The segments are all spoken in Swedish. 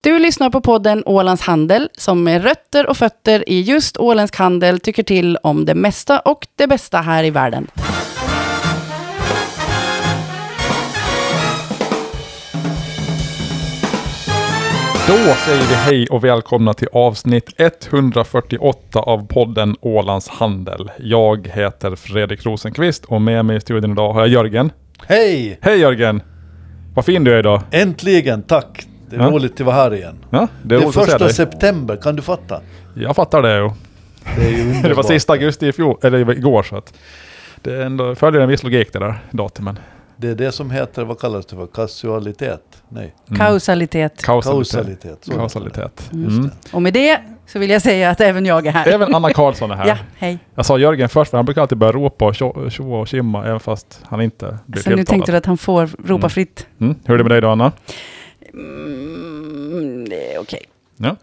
Du lyssnar på podden Ålands Handel som med rötter och fötter i just åländsk handel tycker till om det mesta och det bästa här i världen. Då säger vi hej och välkomna till avsnitt 148 av podden Ålands Handel. Jag heter Fredrik Rosenqvist och med mig i studion idag har jag Jörgen. Hej! Hej Jörgen! Vad fin du är idag. Äntligen, tack! Det är Ja. roligt att vara här igen. Ja, det Det är är roligt att se första dig. september, kan du fatta? Jag fattar det ju. Det är ju Det var underbart. sista augusti i fjol, eller igår så att det är ändå följer en viss logik det där datumen. Det är det som heter, vad kallas det för, kasualitet? Nej, Mm. Kausalitet. Kausalitet. kausalitet. Så. Kausalitet. Mm. Och med det så vill jag säga att även jag är här. Även Anna Karlsson är här. Ja, hej. Jag sa Jörgen först, för han brukar alltid börja ropa och tjo- tjoa och tjimma, även fast han inte blir Så Alltså, nu tilltalad. tänkte du att han får ropa Mm. fritt? Mm. Hur är det med dig då Anna? Mm, det är okej. Ja.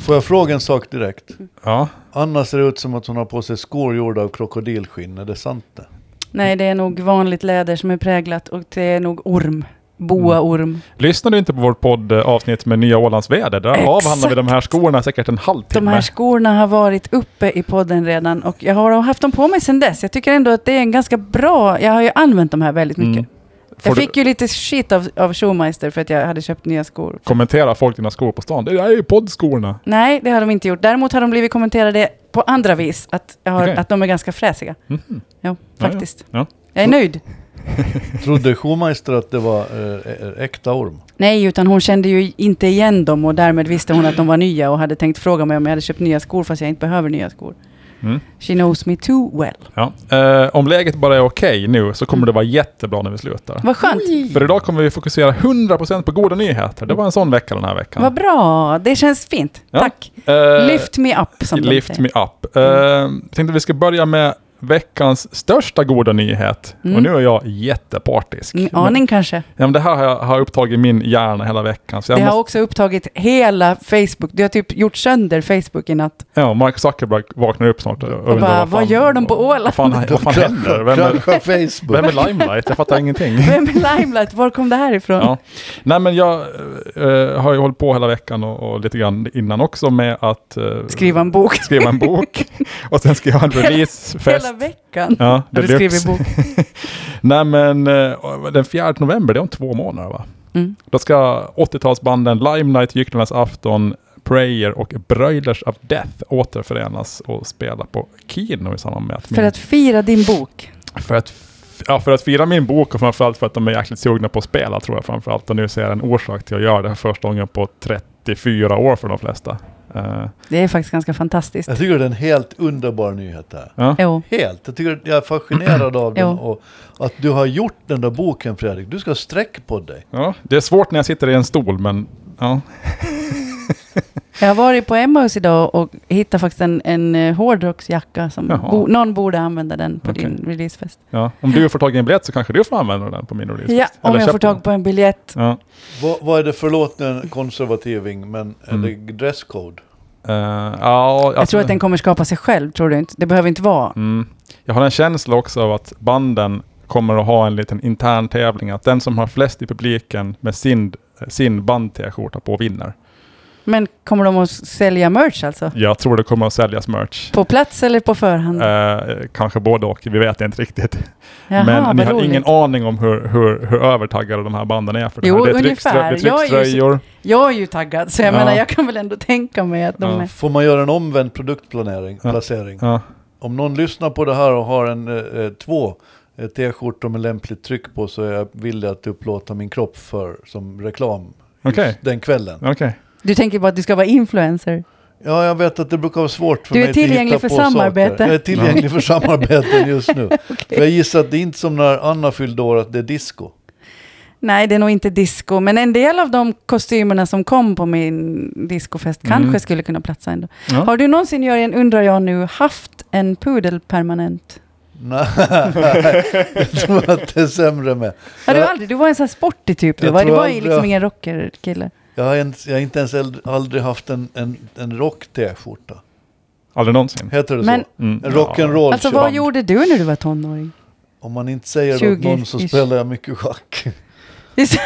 Får jag fråga en sak direkt? Ja, Anna ser ut som att hon har på sig skor gjorda av krokodilskinn, är det sant det? Nej, det är nog vanligt läder som är präglat och det är nog orm. Mm. Boaorm. Lyssnar du inte på vårt poddavsnitt med Nya Ålands väder? Där Exakt. avhandlar vi de här skorna säkert en halvtimme. De här skorna har varit uppe i podden redan och jag har haft dem på mig sedan dess. Jag tycker ändå att det är en ganska bra... Jag har ju använt de här väldigt mycket. Mm. Får Jag du fick ju lite shit av, av Schumeister för att jag hade köpt nya skor. kommentera folk dina skor på stan? Det där är ju poddskorna. Nej, det har de inte gjort. Däremot har de blivit kommenterade på andra vis, att, jag har, Okej. att de är ganska fräsiga. Mhm. Jo, ja. faktiskt. Ja. Jag är nöjd. Trodde Schumeister att det var eh, äkta orm? Nej, utan hon kände ju inte igen dem och därmed visste hon att de var nya och hade tänkt fråga mig om jag hade köpt nya skor fast jag inte behöver nya skor. Mm. She knows me too well. Ja. Eh, om läget bara är okej nu så kommer det vara jättebra när vi slutar. Vad skönt. För idag kommer vi fokusera 100% på goda nyheter. Det var en sån vecka den här veckan. Vad bra. Det känns fint. Ja. Tack. Eh, Lift me up, som de Lift säger. me up. Uh, tänkte vi ska börja med veckans största goda nyhet. Mm. Och nu är jag jättepartisk. Mm, men, Aning kanske. ja, men det här har, jag, har upptagit min hjärna hela veckan. Så jag Det måste, har också upptagit hela Facebook. Du har typ gjort sönder Facebook i natt. ja, Mark Zuckerberg vaknar upp snart och, och undrar bara, fan- "Vad gör de på Åland?" Vad fan, vad fan händer? Vem är, Krascha vem Facebook! är Limelight? Jag fattar ingenting. Vem är Limelight? Var kom det här ifrån? Ja. Nej men jag eh, har ju hållit på hela veckan och, och lite grann innan också med att eh, Skriva en bok. skriva en bok och sen ska jag ha en Hela- Hela releasefest. veckan. Ja, Har du deluxe. skrivit bok? Nej men eh, den 4 november, det är om två månader va? Mm. Då ska 80-talsbanden Lime Night, Gycklarnas afton, Prayer och Broilers of Death återförenas och spela på Kino i samband med att... För att fira din bok. för att, f- ja, för att fira min bok och framförallt för att de är jäkligt sugna på att spela tror jag framförallt. Och nu ser jag en orsak till att göra det här första gången på 34 år för de flesta. Eh, Det är faktiskt ganska fantastiskt. Jag tycker det är en helt underbar nyhet det här. ja. Jo. Helt. Jag, tycker, jag är fascinerad av den Ja. och att du har gjort den där boken Fredrik. Du ska sträcka på dig. ja, det är svårt när jag sitter i en stol men ja. Jag har varit på Emmaus idag och hittade faktiskt en, en eh, hårdrocksjacka. Som Jaha. bo, någon borde använda den på Okej. din releasefest. Ja, om du får tag i en biljett så kanske du får använda den på min release. Ja, om Eller jag köp får den. tag på en biljett. Ja. Vad, vad är det, förlåt nu en konservativing, men är Mm. det dresscode? Eh, ja, Jag alltså- tror att den kommer skapa sig själv, tror du inte? Det behöver inte vara. Mm. Jag har en känsla också av att banden kommer att ha en liten intern tävling. Att den som har flest i publiken med sin, sin band-t-skjorta på vinner. Men kommer de att sälja merch alltså? Jag tror det kommer att säljas merch. På plats eller på förhand? Eh, kanske både och, vi vet inte riktigt. Jaha, Men ni vad har roligt. ingen aning om hur, hur, hur övertaggade de här banden är för det Jo, här. Det är ungefär. tryckströ- det är Jag är ju så- tryckströjor. Jag är ju taggad, så jag Ja. menar, jag kan väl ändå tänka mig att de Ja. är... Får man göra en omvänd produktplanering? Ja. Placering? Ja. Om någon lyssnar på det här och har en, eh, eh, två eh, t-skjortor med lämpligt tryck på så är jag villig att upplåta min kropp för som reklam just Okej. den kvällen. Mm. Okej. Du tänker bara att du ska vara influencer? Ja, jag vet att det brukar vara svårt för Du är mig att hitta tillgänglig för på saker. samarbete. Jag är tillgänglig för samarbeten just nu. För jag gissar att det är inte som när Anna fyllde år att det är disco. Nej, det är nog inte disco, men en del av de kostymerna som kom på min discofest kanske skulle kunna platsa ändå. Ja. Har du någonsin, Jörgen, undrar jag nu, haft en pudel permanent? Nej, jag tror att det är sämre med. Har du Jag- aldrig? Du var en sån här sportig typ, du Jag var, du tror var ju aldrig liksom jag- ingen rockerkille. Jag har, ens, jag har inte ens eld- aldrig haft en, en, en rock-t-skjorta. Aldrig någonsin. Heter det Men- så? Mm. En rock'n'roll Alltså vad gjorde du när du var tonåring? Om man inte säger det åt 20 någon så ish. spelar jag mycket schack. Just-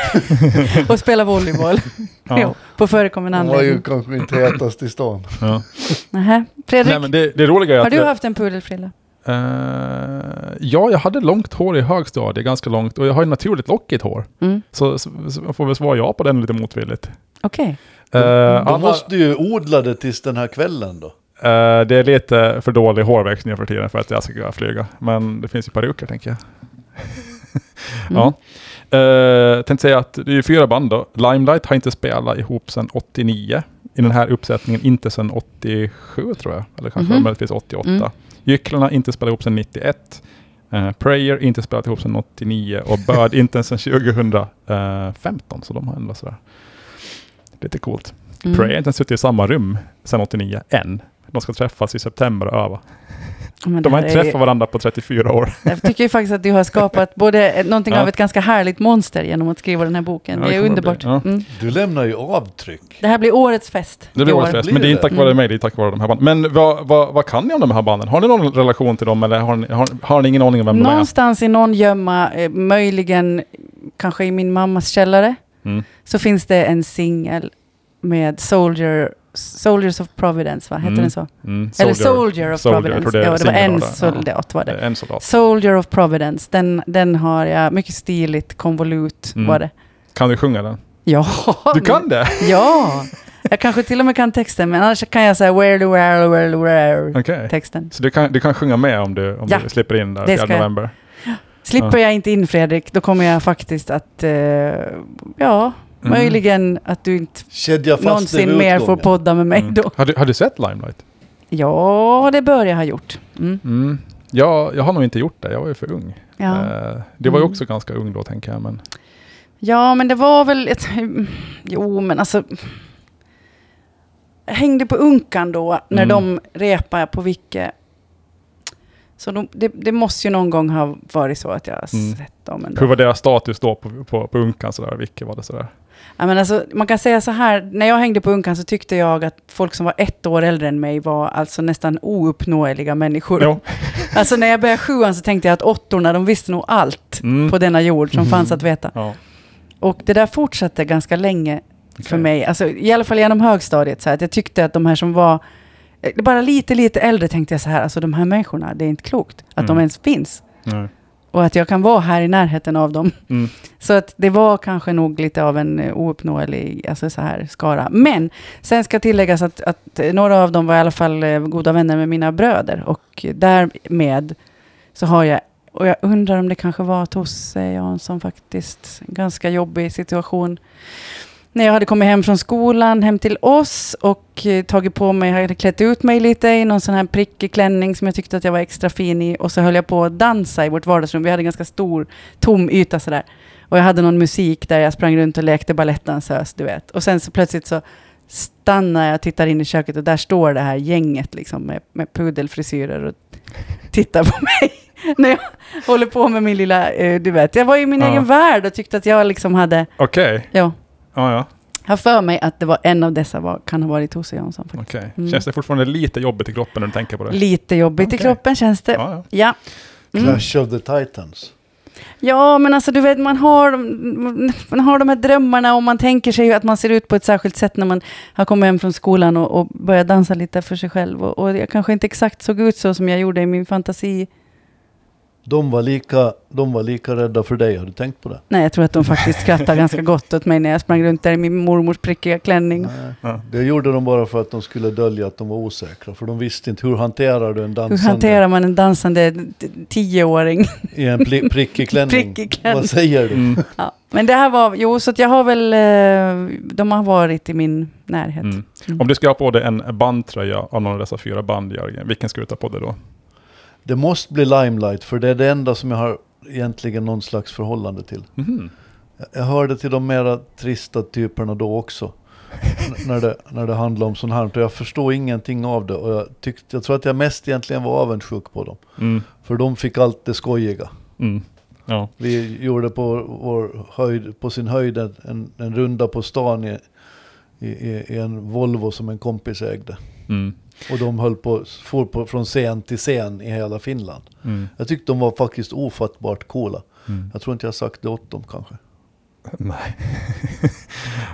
och spela volleyboll. Ja. Jo, på förekommande Hon var ju anledning. kanske inte hetast i stan. Ja. Nähä. Fredrik, Nej, men det, det roliga är att... har du det- haft en pudelfrilla? Eh, ja, jag hade långt hår i högstadiet, ganska långt. Och jag har ju naturligt lockigt hår. Mm. Så, så, så jag får väl svara ja på den lite motvilligt. Okej. Eh, De annars- måste ju odla det tills den här kvällen då. Eh, det är lite för dålig hårväxt nu för tiden för att jag ska kunna flyga. Men det finns ju peruker tänker jag. ja. Uh, tänkte säga att det är ju fyra band då. Limelight har inte spelat ihop sedan 89. I den här uppsättningen inte sedan 87 tror jag. Eller kanske Mhm. möjligtvis 88. Mm. Gycklarna inte spelat ihop sedan 91. Eh, Prayer inte spelat ihop sedan 89. Och Bird inte ens sedan 2015. Så de har ändå sådär. Lite coolt. Mm. Prey har inte ens suttit i samma rum sedan 89, än. De ska träffas i september och öva. Men De har det inte här är- träffat varandra på 34 år. Jag tycker ju faktiskt att du har skapat både ett- någonting Ja. av ett ganska härligt monster genom att skriva den här boken. Ja, det det är kommer det underbart. bli, ja. Mm. Du lämnar ju avtryck. Det här blir årets fest. Det blir i år. årets fest, blir men det är inte det. tack vare Mm. mig, det är tack vare de här banden. Men vad, vad, vad kan ni om de här banden? Har ni någon relation till dem eller har ni, har, har ni ingen aning om vem Någonstans i någon gömma, eh, möjligen kanske i min mammas källare, de är? Mm. så finns det en singel med Soldier, Soldiers of Providence, va? Heter Mm. den så? Mm. Eller Soldier of Soldier, jag tror Providence. det är ja, det var singeln en av det. Ja. soldat var Det är det. En soldat. Soldier of Providence, den, den har jag, mycket stiligt, konvolut Mm. var det. Kan du sjunga den? Ja, Du men- kan det? Ja, jag kanske till och med kan texten, men annars kan jag säga where the where where where Okej. texten. Så du kan, du kan sjunga med om du, om Ja. du slipper in där Det 4 ska jag. november? Slipper jag inte in Fredrik, då kommer jag faktiskt att, eh, ja, Mm. möjligen att du inte Kedja fast dig någonsin vid mer får utgången. podda med mig Mm. då. Har, du, har du sett Limelight? Ja, det bör jag ha gjort. Mm. Mm. Ja, jag har nog inte gjort det, jag var ju för ung. Ja. Eh, det var ju Mm. också ganska ung då tänker jag. Men, ja, men det var väl ett, jo men alltså, jag hängde på Unkan då, när Mm. de repade på Vicke. Så de, det, det måste ju någon gång ha varit så att jag har Mm. sett dem ändå. hur var deras status då på, på, på Unkan? Sådär? Vilket var det sådär? Ja, men alltså, man kan säga så här, när jag hängde på Unkan så tyckte jag att folk som var ett år äldre än mig var alltså nästan ouppnåeliga människor. Jo. Alltså när jag började sjuan så tänkte jag att åttorna, de visste nog allt Mm. på denna jord som Mhm. fanns att veta. Ja. Och det där fortsatte ganska länge för Okej. mig, alltså, i alla fall genom högstadiet, så här, att jag tyckte att de här som var eh, bara lite, lite äldre tänkte jag så här, alltså de här människorna, det är inte klokt att de Mm. ens finns. Nej. Och att jag kan vara här i närheten av dem. Mm. Så att det var kanske nog lite av en eh, ouppnåelig alltså så här, skara. Men sen ska tilläggas att, att eh, några av dem var i alla fall eh, goda vänner med mina bröder. Och eh, därmed så har jag, och jag undrar om det kanske var Tosse Jansson faktiskt, en ganska jobbig situation. När jag hade kommit hem från skolan, hem till oss och eh, tagit på mig, hade klätt ut mig lite i någon sån här prickig klänning som jag tyckte att jag var extra fin i. Och så höll jag på att dansa i vårt vardagsrum. Vi hade en ganska stor tom yta sådär. Och jag hade någon musik där jag sprang runt och lekte balettdansös, du vet. Och sen så plötsligt så stannar jag och tittar in i köket och där står det här gänget liksom med, med pudelfrisyrer och tittar på mig. När jag håller på med min lilla, eh, du vet, jag var i min Ja. egen värld och tyckte att jag liksom hade, Okej, ja, ja, ja. jag har för mig att det var en av dessa var, kan ha varit Tosse Jansson faktiskt. Okej. Mm. Känns det fortfarande lite jobbigt i kroppen när du tänker på det? Lite jobbigt i Okej. kroppen känns det. Ja. ja, ja. Ja. Mm. Clash of the Titans. ja, men alltså du vet, man har, man har de här drömmarna och man tänker sig ju att man ser ut på ett särskilt sätt när man har kommit hem från skolan och, och börjat dansa lite för sig själv. Och, och jag kanske inte exakt såg ut så som jag gjorde i min fantasi. De var, lika, de var lika rädda för dig, har du tänkt på det? Nej, jag tror att de faktiskt skrattade ganska gott åt mig när jag sprang runt där i min mormors prickiga klänning. Ja. Det gjorde de bara för att de skulle dölja att de var osäkra. För de visste inte, hur hanterar du en Hur dansande hanterar man en dansande t- tioåring? i en pli- prickig klänning? Prickig klänning. Vad säger du? Mm. Ja, men det här var, jo, så att jag har väl, eh, de har varit i min närhet. Mm. Om du ska ha på dig en bandtröja av någon av dessa fyra band, Jörgen, vilken ska du ta på dig då? Det måste bli Limelight, för det är det enda som jag har egentligen någon slags förhållande till. Mhm. Jag- Jag hörde till de mera trista typerna då också. N- när, det, när det handlar om sånt här. Och jag förstår ingenting av det. Och jag, tyckte, jag tror att jag mest egentligen var avundsjuk på dem. Mm. För de fick allt det skojiga. Mm. Ja. Vi gjorde på, vår höjd, på sin höjd en- en, en runda på stan i, i, i i en Volvo som en kompis ägde. Mm. Och de höll på, for på, från scen till scen i hela Finland. Mm. Jag tyckte de var faktiskt ofattbart coola. Mm. Jag tror inte jag har sagt det åt dem kanske. Nej.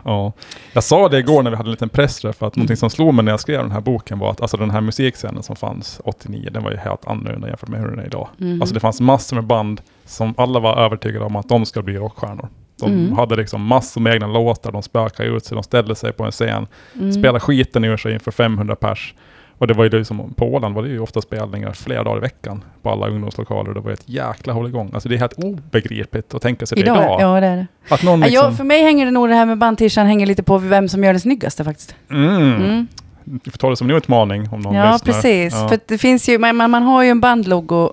ja. Jag sa det igår när vi hade en liten pressträff, att någonting som slog mig när jag skrev den här boken var att alltså, den här musikscenen som fanns 89, den var ju helt annorlunda jämfört med hur den är idag. Mhm. Alltså det fanns massor med band som alla var övertygade om att de ska bli rockstjärnor. De Mm. hade liksom massor med egna låtar, de spökade ut sig, de ställde sig på en scen, Mm. spelade skiten ur sig inför 500 pers. Och det var ju liksom, på Åland var det ju ofta spelningar flera dagar i veckan på alla ungdomslokaler. Det var ju ett jäkla hålligång. Alltså det är helt obegripligt att tänka sig det idag. Ja, det är det. Att någon Ja, liksom, jag, för mig hänger det nog det här med bandtishan hänger lite på vem som gör den snyggaste faktiskt. mm, Mm. Du får ta det som en utmaning om någon Ja, lyssnar. precis. Ja. För att det finns ju, man, man man har ju en bandlogo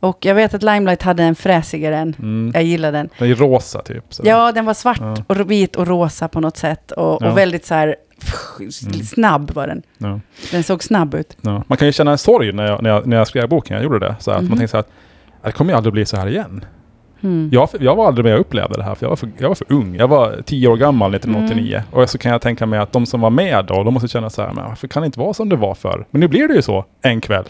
och jag vet att Limelight hade en fräsigare än. Mm. Jag gillar den. Den är rosa typ. Så. Ja, den var svart Ja. och vit och rosa på något sätt och, Ja. och väldigt så här Mm. snabb var den. Ja. Den såg snabb ut. Ja. Man kan ju känna en sorg när jag, när jag, när jag skrev boken, jag gjorde det. Så här, att Mhm. Man tänkte så här, att det kommer ju aldrig bli så här igen. Mm. Jag, jag var aldrig med och upplevde det här, för jag var för, jag var för ung. Jag var tio år gammal 1989. Och så kan jag tänka mig att de som var med då, de måste känna så här, men varför kan det inte vara som det var förr? Men nu blir det ju så, en kväll.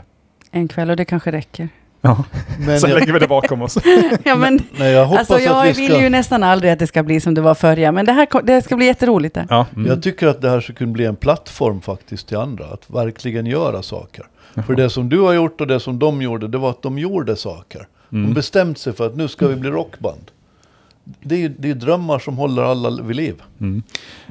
En kväll och det kanske räcker. Ja. Men Sen jag, lägger vi det bakom oss. ja, men, nej, jag hoppas alltså, jag att vi ska... vill ju nästan aldrig att det ska bli som det var förr, ja. men det, här, kom- det ska bli jätteroligt. Det. Ja, mm. Jag tycker att det här skulle kunna bli en plattform faktiskt till andra, att verkligen göra saker. Mm. För det som du har gjort och det som de gjorde, det var att de gjorde saker. Mm. De bestämde sig för att nu ska vi bli rockband. Det är ju det är drömmar som håller alla vid liv. Mm.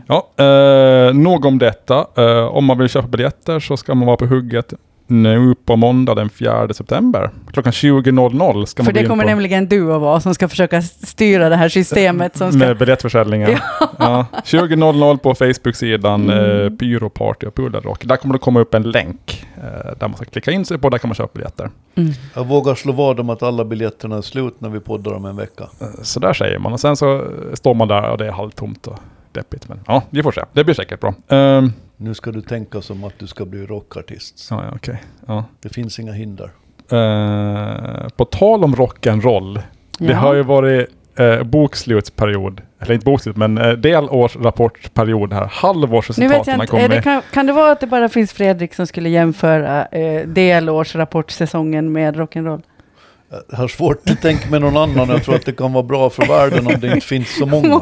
Ja, eh, nog om detta. Eh, om man vill köpa biljetter så ska man vara på hugget nu på måndag den 4 september. Klockan 20.00 För ska man gå det in kommer på nämligen du att vara som ska försöka styra det här systemet. Som ska... med biljettförsäljningen. ja. 20.00 på Facebook-sidan Mm. eh, Pyro Party och Pudelrock. Där kommer det komma upp en länk eh, där man ska klicka in sig på. Där kan man köpa biljetter. Mm. Jag vågar slå vad om att alla biljetterna är slut när vi poddar om en vecka. Eh, så där säger man. Och sen så eh, står man där och det är halvtomt och deppigt. Men ja, vi får se. Det blir säkert bra. Ehm, Nu ska du tänka som att du ska bli rockartist. ja, ja, okej. Ja. Det finns inga hinder. Eh, på tal om rock'n'roll. Det har ju varit eh, bokslutsperiod, eller inte bokslut, men eh, delårsrapportperiod här. Nu vet jag Halvårsresultaten har inte, eh, det kommit. kan, kan det vara att det bara finns Fredrik som skulle jämföra eh, delårsrapportsäsongen med rock'n'roll? Jag har svårt att tänka med någon annan. Jag tror att det kan vara bra för världen om det inte finns så många.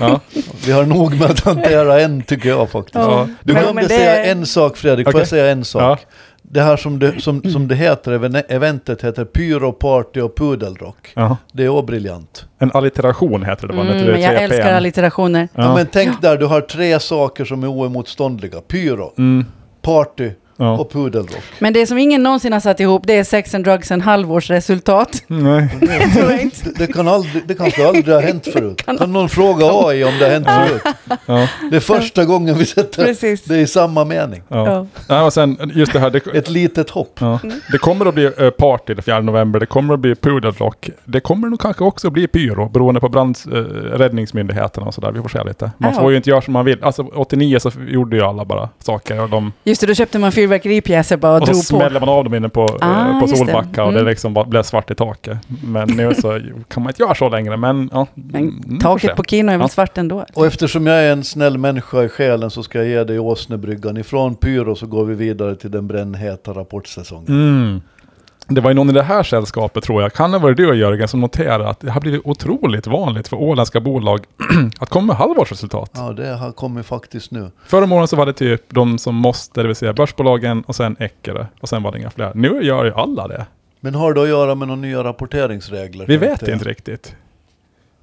Ja. Vi har nog med att hantera en tycker jag faktiskt. Ja. Du Men- glömde men det- säga en sak Fredrik, får Okej. jag säga en sak? Ja. Det här som det, som, som det heter, even- eventet heter Pyro Party och Pudelrock. Ja. Det är också briljant. En alliteration heter det va? Mm, Det är men jag tre älskar P:n. allitterationer. Ja. men tänk där, du har tre saker som är oemotståndliga. Pyro, Mm. party Ja. och pudelrock. Men det som ingen någonsin har satt ihop, det är sex and drugs and halvårsresultat. Nej. Tror jag inte. Det, kan aldrig, det kanske aldrig har hänt förut. Kan någon fråga AI om det har hänt förut? Ja. Det är första gången vi sätter Precis. det i samma mening. Ja. Ja. Mm. Nej, och sen just det här. Det, Ett litet hopp. ja. det kommer att bli eh, party den 4 november. Det kommer att bli pudelrock. Det kommer nog kanske också bli pyro beroende på brandräddningsmyndigheterna eh, räddningsmyndigheterna och sådär. Vi får se lite. Man Ja. får ju inte göra som man vill. Alltså 89 så gjorde ju alla bara saker och de Just det, då köpte man fyrverkeripjäser bara och, Och så drog på. smäller man av dem inne på, Ah, eh, på just det. Solbacka och det Mm. liksom bara blev svart i taket. Men nu så kan man inte göra så längre. Men ja. mm, Men vi får se. taket på Kino är väl Ja. svart ändå? Och eftersom jag är en snäll människa i själen så ska jag ge dig Åsnebryggan. Ifrån pyro så går vi vidare till den brännheta rapportsäsongen. Mm. Det var ju någon i det här sällskapet tror jag, kan det vara du Jörgen, som noterade att det har blivit otroligt vanligt för åländska bolag att komma med halvårsresultat. Ja, det har kommit faktiskt nu. Förra månaden så var det typ de som måste, det vill säga börsbolagen och sen Eckerö och sen var det inga fler. Nu gör ju alla det. Men har det att göra med några nya rapporteringsregler? Vi tänkte vet jag. inte riktigt.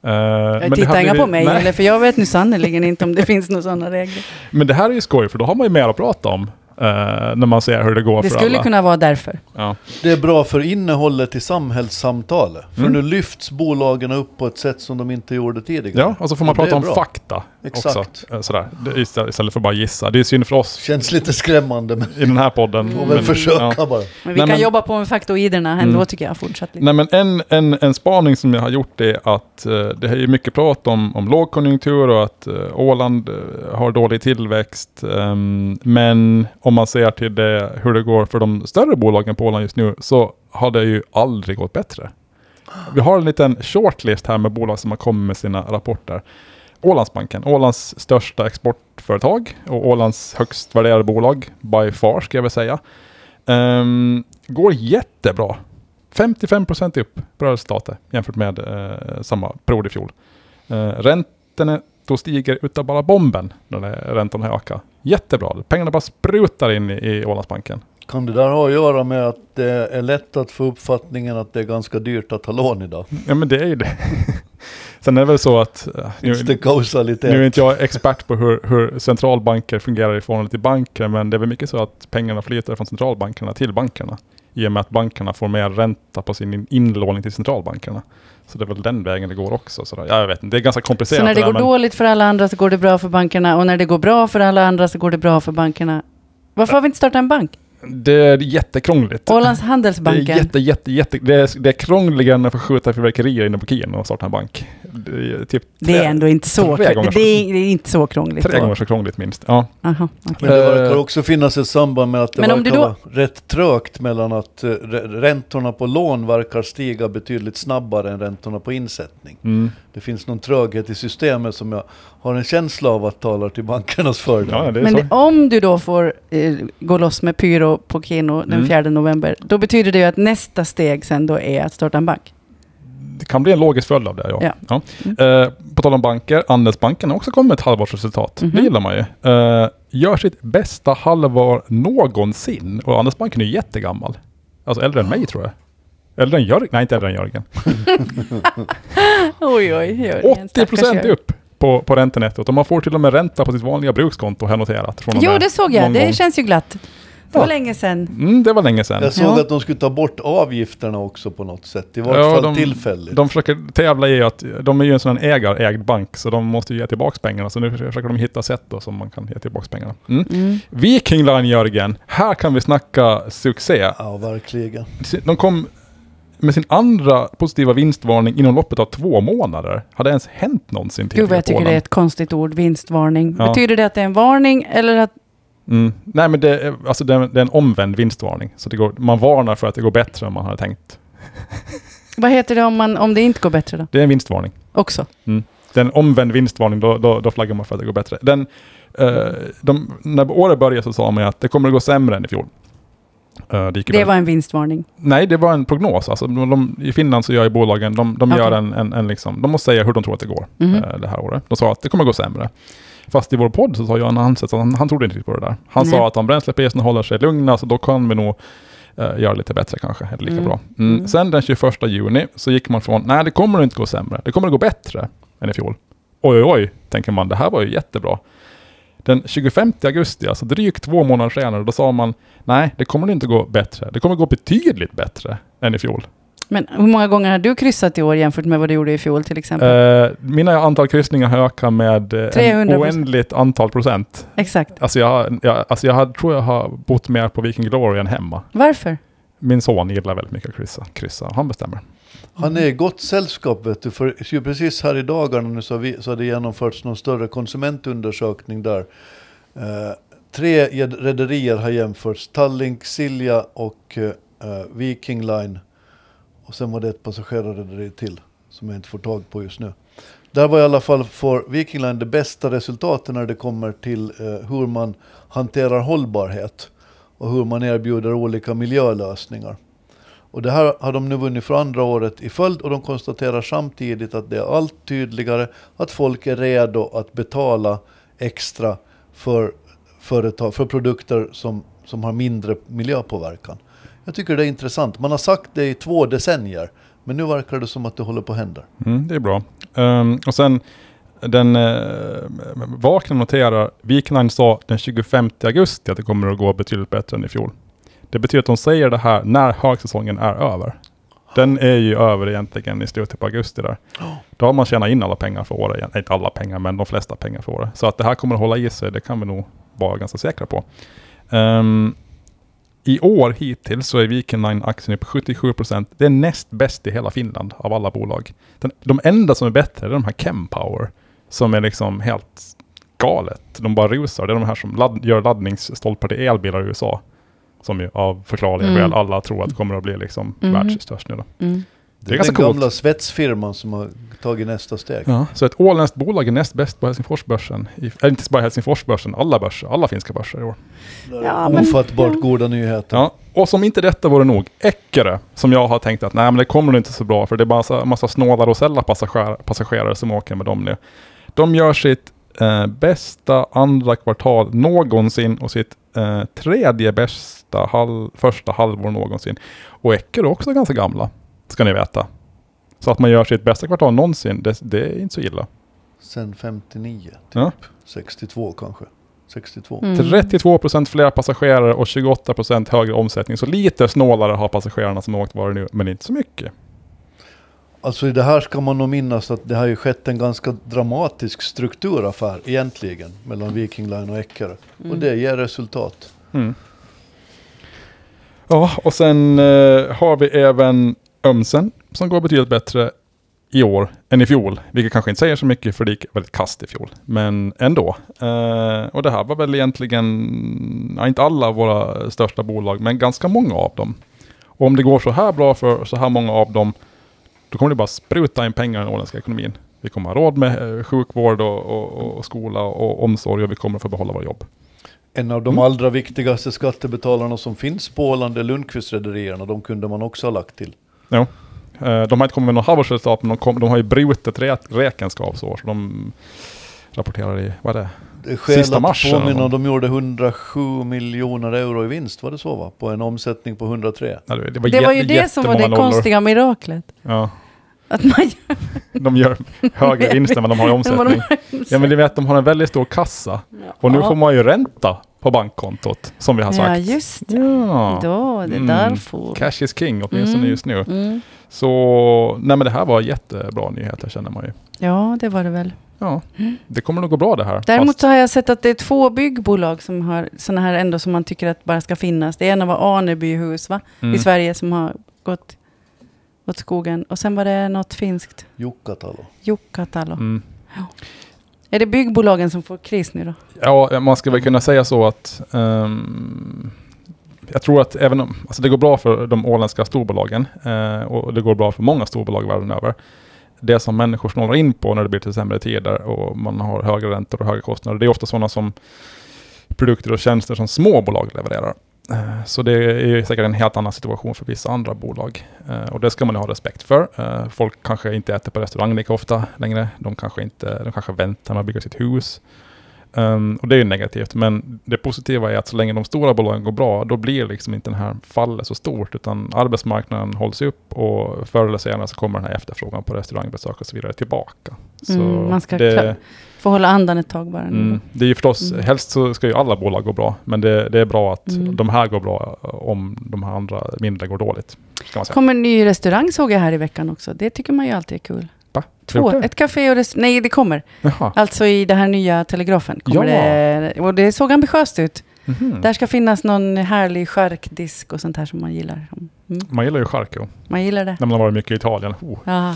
Uh, Titta inga på mig, eller, för jag vet nu sannerligen inte om det finns några sådana regler. Men det här är ju skoj, för då har man ju mer att prata om. eh, när man ser hur det går Det för skulle alla. kunna vara därför. Ja. Det är bra för innehållet i samhällssamtalet. För Mm. nu lyfts bolagen upp på ett sätt som de inte gjorde tidigare. ja, och så får man Och det prata är om bra. fakta Exakt. också. eh, Sådär. Det- Istället istället för att bara gissa. Det är synd för oss Känns lite skrämmande, men i den här podden. får väl försöka ja. Men bara. vi Nej, kan men- Mm. jobba på med faktoiderna ändå tycker jag fortsatt. Lite. Nej, men en, en, en spaning som jag har gjort är att eh, det är ju mycket prat om, om lågkonjunktur och att eh, Åland eh, har dålig tillväxt. ehm, men om man ser till det, hur det går för de större bolagen på Åland just nu så har det ju aldrig gått bättre. Vi har en liten shortlist här med bolag som har kommit med sina rapporter. Ålandsbanken, Ålands största exportföretag och Ålands högst värderade bolag, by far ska jag väl säga. Ehm, går jättebra. 55% upp på resultatet jämfört med eh, samma period i fjol. Eh, räntenetto stiger utav bara bomben när det är räntorna har ökat. Jättebra, pengarna bara sprutar in i, i Ålandsbanken. Kan det där ha att göra med att det är lätt att få uppfattningen att det är ganska dyrt att ha lån idag? Ja men det är ju det. Sen är det väl så att... eh, nu- Finns det kausalitet? Nu är inte jag expert på hur, hur centralbanker fungerar i förhållande till banker, men det är väl mycket så att pengarna flyter från centralbankerna till bankerna. I och med att bankerna får mer ränta på sin in- inlåning till centralbankerna. Så det är väl den vägen det går också. Så där. Jag vet inte, det är ganska komplicerat. Så när det där, går men- dåligt för alla andra så går det bra för bankerna och när det går bra för alla andra så går det bra för bankerna. Varför har vi inte startat en bank? Det är jättekrångligt. Ålands det är, Handelsbanken. jätte, jätte, jätte, det, är, det är krångligare än att få skjuta fyrverkerier inne på Kien och starta en bank. Det är, typ Det är tre, ändå inte så, tre gånger krångligt. det är, det är inte så krångligt. tre gånger så krångligt minst. Ja. Aha, okej. Men det verkar Eh. också finnas ett samband med att det Men om verkar du då- vara rätt trögt mellan att eh, rä- räntorna på lån verkar stiga betydligt snabbare än räntorna på insättning. Mm. Det finns någon tröghet i systemet som jag har en känsla av att talar till bankernas fördel. ja, det är Men så. det, om du då får eh, gå loss med Pyro på Keno den Mm. 4 november, då betyder det ju att nästa steg sen då är att starta en bank. det kan bli en logisk följd av det. Ja. Ja. Mm. Ja. Eh, på tal om banker, Andelsbanken har också kommit med ett halvårsresultat. Mhm. Det gillar man ju. Eh, gör sitt bästa halvår någonsin. Och Andelsbanken är ju jättegammal. Alltså äldre än mig tror jag. Äldre än Jörgen? Nej, inte äldre än Jörgen. Oj, oj, oj. 80 procent upp på, på räntenettot. Och man får till och med ränta på sitt vanliga brukskonto här noterat. Från och Jo, med det såg jag. någon gång. Det känns ju glatt. Det var Ja. länge sedan. Mm, det var länge sedan. Jag såg Ja. att de skulle ta bort avgifterna också på något sätt, i vart Ja, fall de- tillfälligt. De försöker tävla i att de är ju en sån här ägarägd bank, så de måste ju ge tillbaka pengarna. Så nu försöker de hitta sätt då, som man kan ge tillbaka pengarna. Mm. Mm. Viking Line Jörgen, här kan vi snacka succé. Ja, verkligen. De kom med sin andra positiva vinstvarning inom loppet av två månader. Har det ens hänt någonsin till Gud vad jag tycker Polen? det är ett konstigt ord, vinstvarning. Ja. Betyder det att det är en varning eller att... Mm. Nej men det, är- alltså det, är, det är en omvänd vinstvarning. Så det går, man varnar för att det går bättre än man hade tänkt. Vad heter det om, man, om det inte går bättre då? Det är en vinstvarning. Också. Det är en omvänd vinstvarning, då, då, då flaggar man för att det går bättre. Den, eh, de, när året började så sa man ju att det kommer att gå sämre än i fjol. Eh, det gick ju Det var en vinstvarning. Nej, det var en prognos. Alltså, de, de, I Finland så gör ju bolagen, de, de, gör Okej. en, en, en liksom, de måste säga hur de tror att det går Mhm. eh, det här året. De sa att det kommer gå sämre. Fast i vår podd så sa Johan Hanset att han, han trodde inte riktigt på det där. Han Nej. sa att om bränslepriserna håller sig lugna så då kan vi nog eh, göra lite bättre kanske, eller lika Mm. bra. Mm. Mm. Sen den 21 juni så gick man från, nej det kommer inte gå sämre, det kommer att gå bättre än i fjol. Oj, oj, oj, tänker man, det här var ju jättebra. Den 25 augusti, alltså drygt två månader senare, då sa man nej, det kommer inte gå bättre. Det kommer gå betydligt bättre än i fjol. Men hur många gånger har du kryssat i år jämfört med vad du gjorde i fjol till exempel? Eh, mina antal kryssningar har ökat med eh, en 300%. oändligt antal procent. Exakt. Alltså jag, har- jag, alltså jag har- tror jag har bott mer på Viking Glory än hemma. Varför? Min son gillar väldigt mycket att kryssa. kryssa. Han bestämmer. Han är i gott sällskap, vet du. För ju precis här i dagarna nu så har, vi, så har det genomförts någon större konsumentundersökning där. Eh, tre jed- rederier har jämförts. Tallink, Silja och eh, eh, Viking Line. Och sen var det ett passagerarrederi till som jag inte får tag på just nu. Där var i alla fall för Viking Line det bästa resultatet när det kommer till eh, hur man hanterar hållbarhet och hur man erbjuder olika miljölösningar. Och det här har de nu vunnit för andra året i följd och de konstaterar samtidigt att det är allt tydligare att folk är redo att betala extra för, företag, för produkter som, som har mindre miljöpåverkan. Jag tycker det är intressant. Man har sagt det i två decennier, men nu verkar det som att det håller på att hända. Mm, det är bra. Ehm, och sen, den uh, vakna noterar, Wiknine sa den 25 augusti att det kommer att gå betydligt bättre än i fjol. Det betyder att de säger det här när högsäsongen är över. Den är ju över egentligen i slutet på augusti där. Då har man tjänat in alla pengar för året, igen. inte alla pengar men de flesta pengar för året. Så att det här kommer att hålla i sig, det kan vi nog vara ganska säkra på. Ehm, I år hittills så är Viking Line-aktien upp 77%. Det är näst bäst i hela Finland av alla bolag. Den, de enda som är bättre är de här Chempower, som är liksom helt galet. De bara rusar. Det är de här som ladd, gör laddningsstolpar till elbilar i USA. Som ju av förklarliga Mm. skäl alla tror att kommer att bli liksom Mhm. världsstörst nu då. Det är ganska den gamla coolt. svetsfirman som har tagit nästa steg. Ja, så ett åländskt bolag är näst bäst på Helsingforsbörsen. I, eller inte bara Helsingforsbörsen, alla börser, alla finska börser i år. Ja, men- Ofattbart goda nyheter. Ja, och som inte detta vore nog, Eckerö, som jag har tänkt att nej men det kommer nog inte så bra för det är bara massa, massa snåla rosella passager, passagerare som åker med dem nu. De gör sitt eh, bästa andra kvartal någonsin och sitt eh, tredje bästa halv, första halvår någonsin. Och Eckerö är också ganska gamla, ska ni veta. Så att man gör sitt bästa kvartal någonsin, det, det är inte så illa. Sen 59, typ. Ja. 62 kanske. 62. Mm. 32% fler passagerare och 28% högre omsättning. Så lite snålare har passagerarna som har åkt varit nu, men inte så mycket. Alltså i det här ska man nog minnas att det har ju skett en ganska dramatisk strukturaffär egentligen mellan Viking Line och Eckerö. Mm. Och Mm. det ger resultat. Ja, och sen eh, har vi även Ömsen som går betydligt bättre i år än i fjol. Vilket kanske inte säger så mycket för det gick väldigt kast i fjol. Men ändå. Eh, och det här var väl egentligen, ja, inte alla våra största bolag, men ganska många av dem. Och om det går så här bra för så här många av dem, då kommer det bara spruta in pengar i den åländska ekonomin. Vi kommer ha råd med eh, sjukvård och, och, och skola och omsorg och vi kommer få behålla våra jobb. En av de Mm. allra viktigaste skattebetalarna som finns på Åland är Lundqvist-rederierna. De kunde man också ha lagt till. Jo. Eh, De har inte kommit med något halvårsresultat, men de, kom, de har ju brutit rä- räkenskapsår. Så de rapporterar i, vad är det? Det är skäl Sista att mars eller påminna, något. de gjorde 107 miljoner euro i vinst, var det så va? På en omsättning på 103. Nej, Det var, Det jä- var ju det som var det jättemånga nollor. konstiga miraklet. Ja, Att man de gör högre vinst än vad de har i omsättning. Ja, men ni vet, de har en väldigt stor kassa. Och nu får man ju ränta på bankkontot, som vi har Ja, sagt. just det. Ja. Då, det är Mm. därför. Cash is king, åtminstone Mm. just nu. Mm. Så, nej men det här var jättebra nyheter känner man ju. Ja, det var det väl. Ja, det kommer nog gå bra det här. Mm. Däremot Fast- så har jag sett att det är två byggbolag som har sådana här ändå som man tycker att bara ska finnas. Det ena var Anebyhus va? Mm. i Sverige som har gått åt skogen. Och sen var det något finskt, Jukkatalo. Jukkatalo. Mm. Är det byggbolagen som får kris nu då? Ja, man ska väl kunna säga så att ehm, jag tror att även om alltså det går bra för de åländska storbolagen eh, och det går bra för många storbolag världen över. Det som människor snålar in på när det blir till sämre tider och man har högre räntor och högre kostnader, det är ofta sådana som produkter och tjänster som små bolag levererar. Eh, Så det är ju säkert en helt annan situation för vissa andra bolag. Eh, Och det ska man ju ha respekt för. Eh, Folk kanske inte äter på restaurang lika ofta längre. De kanske, inte, de kanske väntar med att bygga sitt hus. Ehm, och det är ju negativt, men det positiva är att så länge de stora bolagen går bra, då blir liksom inte den här fallet så stort, utan arbetsmarknaden hålls upp och förr eller senare så kommer den här efterfrågan på restaurangbesök och så vidare tillbaka. Så Mm, man ska det, klara- Får hålla andan ett tag bara. nu då. mm, det är ju förstås, Mm. helst så ska ju alla bolag gå bra, men det, det är bra att Mm. de här går bra eh, om de här andra mindre går dåligt. Ska man säga. kom en ny restaurang såg jag här i veckan också. Det tycker man ju alltid är kul. Va? Två, Gjort det? ett café och restaurang. Nej, det kommer. Jaha. Alltså i det här nya Telegrafen. Kommer Ja. det, och det såg ambitiöst ut. Mhm. Där ska finnas någon härlig charkdisk och sånt här som man gillar. Mm. Man gillar ju charko, Man gillar det. när man har varit mycket i Italien. Oh. Ja.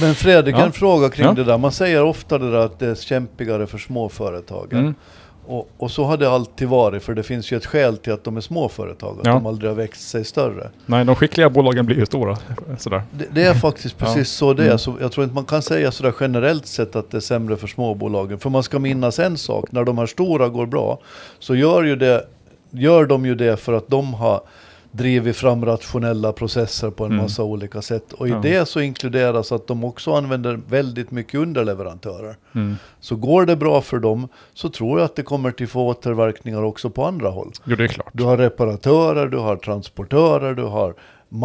Men Fredrik, Ja. en fråga kring Ja. det där. Man säger ofta det där att det är kämpigare för småföretagen. Mm. Och, och så har det alltid varit, för det finns ju ett skäl till att de är småföretag, att Ja. de aldrig har växt sig större. Nej, de skickliga bolagen blir ju stora. Sådär. Det, det är faktiskt Mm. Ja. precis så det är. Mm. Så jag tror inte man kan säga sådär generellt sett att det är sämre för småbolagen. För man ska minnas en sak, när de här stora går bra så gör, ju det, gör de ju det för att de har drivit fram rationella processer på en Mm. massa olika sätt. Och i Ja. det så inkluderas att de också använder väldigt mycket underleverantörer. Mm. Så går det bra för dem så tror jag att det kommer till få återverkningar också på andra håll. Jo, det är klart. Du har reparatörer, du har transportörer, du har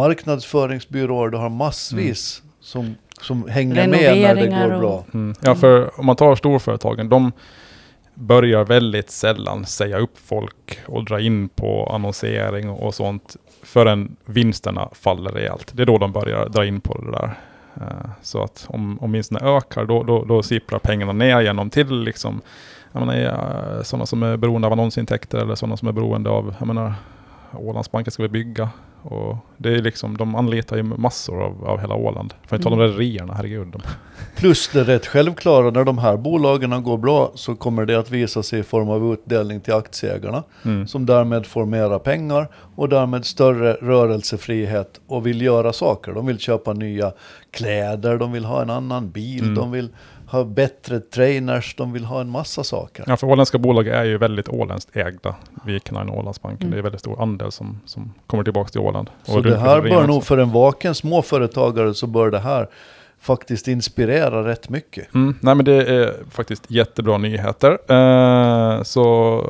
marknadsföringsbyråer, du har massvis som, som hänger med när det Renoveringar går och- bra. Mm. Ja, för om man tar storföretagen, de börjar väldigt sällan säga upp folk och dra in på annonsering och sånt förrän vinsterna faller rejält. Det är då de börjar dra in på det där. Eh, Så att om, om vinsterna ökar, då, då, då sipprar pengarna ner genom till liksom, jag menar, sådana som är beroende av annonsintäkter eller sådana som är beroende av, jag menar, Ålandsbanken ska vi bygga. Och det är liksom, de anlitar ju massor av, av hela Åland. För att inte tala om rederierna, herregud. De, Plus det rätt självklara, när de här bolagen går bra så kommer det att visa sig i form av utdelning till aktieägarna. mm. Som därmed får mera pengar och därmed större rörelsefrihet och vill göra saker. De vill köpa nya kläder, de vill ha en annan bil, Mm. de vill ha bättre trainers, de vill ha en massa saker. Ja, för åländska bolag är ju väldigt åländskt ägda. Vikenline och Ålandsbanken. Mm. Det är väldigt stor andel som, som kommer tillbaka till Åland. Så Och det här rederierna bör nog också. för en vaken småföretagare så bör det här faktiskt inspirera rätt mycket. Mm, nej men det är faktiskt jättebra nyheter. Eh, så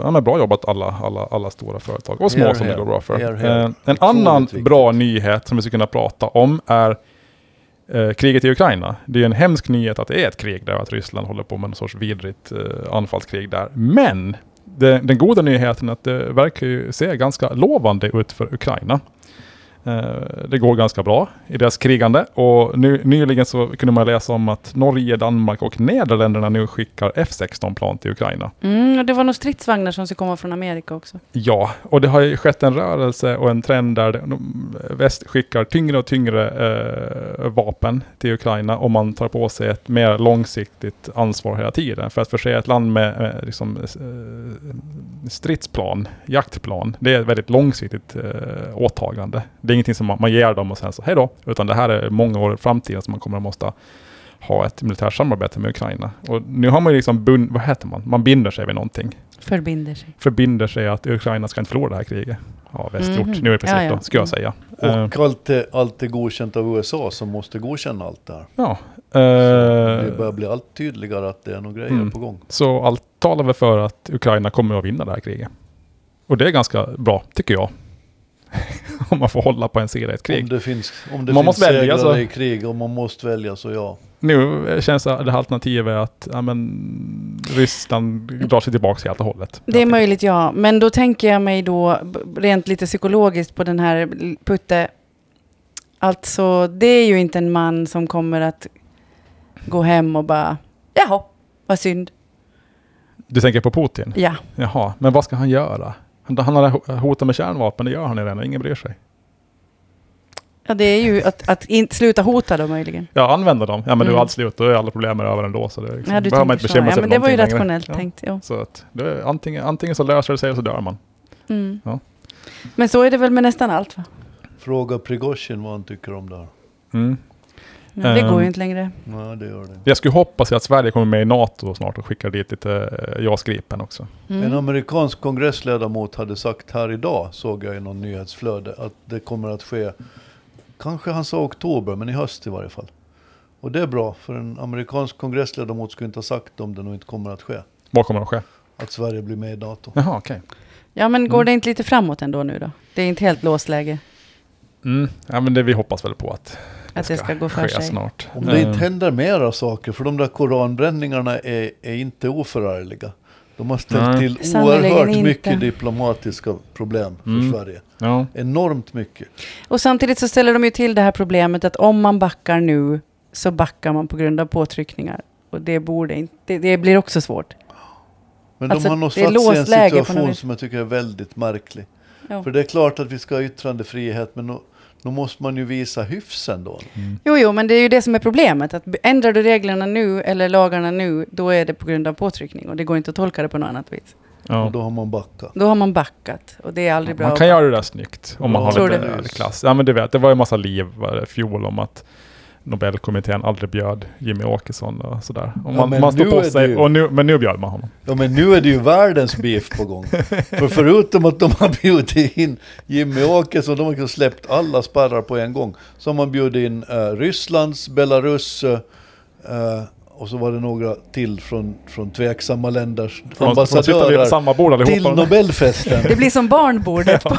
ja, men bra jobbat alla, alla, alla stora företag och små Here, som det here. går bra för. Here, here. Eh, en Otroligt annan viktigt. bra nyhet som vi ska kunna prata om är eh, kriget i Ukraina. Det är en hemsk nyhet att det är ett krig där och att Ryssland håller på med någon sorts vidrigt eh, anfallskrig där. Men det, den goda nyheten är att det verkar ju se ganska lovande ut för Ukraina. Eh, Det går ganska bra i deras krigande och ny, nyligen så kunde man läsa om att Norge, Danmark och Nederländerna nu skickar F16-plan till Ukraina. Mm, och det var nog stridsvagnar som skulle komma från Amerika också. Ja, och det har ju skett en rörelse och en trend där de- väst skickar tyngre och tyngre eh, vapen till Ukraina och man tar på sig ett mer långsiktigt ansvar hela tiden. För att förse ett land med eh, liksom, eh, stridsplan, jaktplan, det är ett väldigt långsiktigt eh, åtagande. Det är ingenting som man, man ger dem och sen så hej då, utan det här är många år i framtiden som man kommer att måste ha ett militärt samarbete med Ukraina. Och nu har man ju liksom, bund, vad heter man, man binder sig vid någonting Förbinder sig. förbinder sig att Ukraina ska inte förlora det här kriget. Ja, väst gjort. Mhm. Nu är det precis Ja, ja. då, ska Mm. jag säga. Eh, Och allt är, allt är godkänt av USA som måste godkänna allt det här. ja. Det Eh, börjar bli allt tydligare att det är några grejer Mm. på gång. så allt talar väl för att Ukraina kommer att vinna det här kriget. Och det är ganska bra, tycker jag. Om man får hålla på en sida i ett Om krig. det finns, om det Man man måste finns välja, alltså. segrare så- i krig och man måste välja så ja. Nu känns det här alternativet att ja, men, Ryssland drar sig tillbaka helt och hållet. Det är möjligt, ja. Men då tänker jag mig då b- rent lite psykologiskt på den här l- Putte. Alltså, det är ju inte en man som kommer att gå hem och bara, jaha, vad synd. Du tänker på Putin? Ja. Jaha, men vad ska han göra? Han han har hotat med kärnvapen, det gör han ju redan, ingen bryr sig. Ja, det är ju att, att in, sluta hota då möjligen. Ja, använda dem. Ja, men då är Mm. allt slut. Då är alla problem över ändå. Så det är liksom, Ja, du behöver man inte tänker så. bekymra sig ja, för men det var ju någonting längre. rationellt Ja. tänkt. Ja. Så att det är, antingen, antingen så löser det sig eller så dör man. Mm. Ja. Men så är det väl med nästan allt, va? Fråga Prigozjin vad han tycker om det här. Men det Ehm. går ju inte längre. Nej, det gör det inte. Mm. Jag skulle hoppas att Sverige kommer med i NATO snart och skickar dit lite eh, JAS Gripen också. Mm. En amerikansk kongressledamot hade sagt här idag, såg jag i någon nyhetsflöde, att det kommer att ske, kanske han sa oktober, men i höst i varje fall. Och det är bra, för en amerikansk kongressledamot skulle inte ha sagt om det nog inte kommer att ske. Vad kommer att ske? Att Sverige blir med i NATO. Jaha, okej. Ja, men går det inte lite framåt ändå nu då? Det är inte helt låsläge Mm. Ja, men det, vi hoppas väl på att att det ska gå för ske sig. snart. Om det Eh, inte händer mera saker, för de där koranbränningarna är, är inte oförargliga. De har ställt Nej. till Sannerligen oerhört inte. mycket diplomatiska problem för Mm. Sverige. ja. Enormt mycket. Och samtidigt så ställer de ju till det här problemet att om man backar nu så backar man på grund av påtryckningar. Och det borde inte, det, det blir också svårt. Men Alltså, de har det är nog satt sig i en låst läge på något situation vis. som jag tycker är väldigt märklig. Ja. För det är klart att vi ska ha yttrandefrihet, men då, då måste man ju visa hyfs ändå. Mm. Jo, jo, men det är ju det som är problemet. Att ändrar du reglerna nu eller lagarna nu, då är det på grund av påtryckning. Och det går inte att tolka det på något annat vis. Ja. Och då har man backat. Då har man backat och det är aldrig bra. Man kan göra det där snyggt om man Ja, har tror lite det. överklass. klass. Ja, men du vet, det var ju en massa liv var det, fjol om att Nobelkommittén aldrig bjöd Jimmy Åkesson och sådär. Och man, men man nu står på är det sig, ju- och nu, men nu bjöd man honom. Ja, men nu är det ju världens beef på gång. För förutom att de har bjudit in Jimmy Åkesson, de har liksom släppt alla spärrar på en gång, så har man bjudit in eh, Rysslands, Belarus eh, eh, och så var det några till från, från tveksamma länders För de- för de sitter vid ambassadörer samma bord till allihopa. Nobelfesten. Det blir som barnbordet på,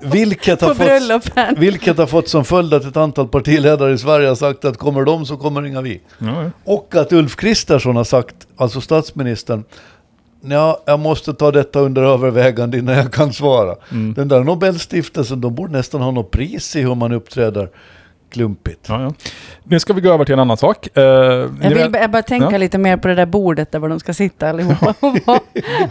Vilket har på fått bröllopen. Vilket har fått som följd att ett antal partiledare i Sverige har sagt att kommer de så kommer inga vi. Ja, ja. Och att Ulf Kristersson har sagt, alltså statsministern, ja, jag måste ta detta under övervägande innan Mm. jag kan svara. Den där Nobelstiftelsen, de borde nästan ha något pris i hur man uppträder klumpigt. Ja, ja. Nu ska vi gå över till en annan sak. Eh, ni Jag vill vet- bara- jag bara tänka Ja. lite mer på det där bordet där var de ska sitta allihopa och vara,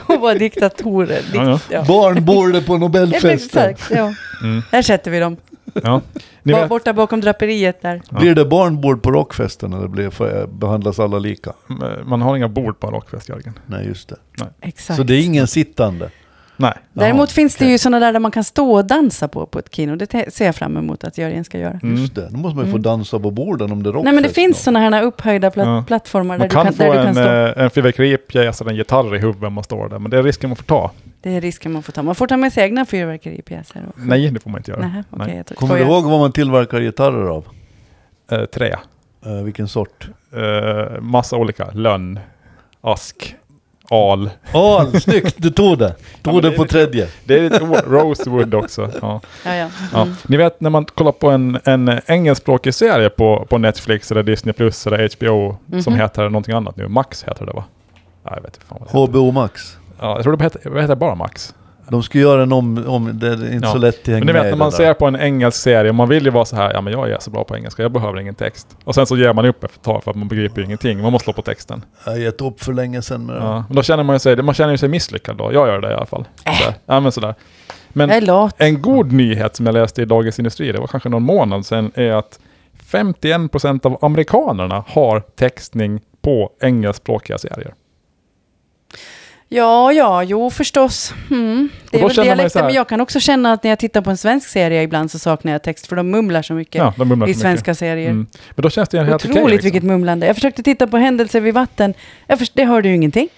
och vara diktatorer. Dikt, Ja, ja. ja. Barnbordet Ja, på men Nobelfesten. Exakt, ja. Mm. Där sätter vi dem. ja. Ni Bara vet, Borta bakom draperiet där. Ja. Blir det barnbord på rockfesten eller blir, får- behandlas alla lika? man har inga bord på en rockfest, Jörgen. Nej, just det. Exakt. Så det är ingen sittande? Nej. Däremot Jaha, finns det okej. ju sådana där där man kan stå och dansa på, på ett kino. Det te- ser jag fram emot att Jörgen ska göra. Mm. Just det, då måste man ju få dansa på borden om det är rockfest. Nej men det finns någon. sådana här upphöjda pla- Ja. plattformar där Man du, kan, kan få där du kan en, stå. eh, en fyrverkeripjäs eller en gitarr i huvudet om man står där, men det är risken man får ta. Det är risken man får ta. Man får ta med sig egna fyrverkeripjäser. och- Nej, det får man inte göra. Nähä, okej. jag tror- Kommer du skojar. ihåg vad man tillverkar gitarrer av? Eh, trä. Eh, vilken sort? Eh, massa olika. Lönn, ask, al. Al, snyggt! Du tog det! men Tog det det är på lite- tredje. Det är lite o- rosewood också. Ja. Ja, ja. Ja. Mm. Ni vet när man kollar på en, en engelskspråkig serie på, på Netflix eller Disney Plus eller HBO som Mhm. heter någonting annat nu. Max heter det va? Nej, jag vet inte fan vad det heter. HBO Max. Ja, jag tror det heter, det heter bara Max. De ska göra en om... om det är inte Ja. så lätt att hänga Men ni vet med i när det man där. ser på en engelsk serie, man vill ju vara så här, ja men jag är så bra på engelska, jag behöver ingen text. Och sen så ger man upp efter ett tag för att man begriper ju ingenting, man måste slå på texten. Jag har gett upp för länge sedan med det. Ja. Men då känner man ju sig, man känner ju sig misslyckad då, jag gör det i alla fall. Så, ja, men sådär. Men, Äh. Jag är lat. En god nyhet som jag läste i Dagens Industri, det var kanske någon månad sedan, är att 51% av amerikanerna har textning på engelskspråkiga serier. Ja, ja, jo förstås. Mm. Det Och är då väl känner man ju så dialekten, här- men jag kan också känna att när jag tittar på en svensk serie ibland så saknar jag text, för de mumlar så mycket Ja, de mumlar i för mycket. svenska serier. Mm. Men då känns det ju helt Otroligt okej. liksom? vilket mumlande. Jag försökte titta på händelser vid vatten. Jag först, det hörde ju ingenting.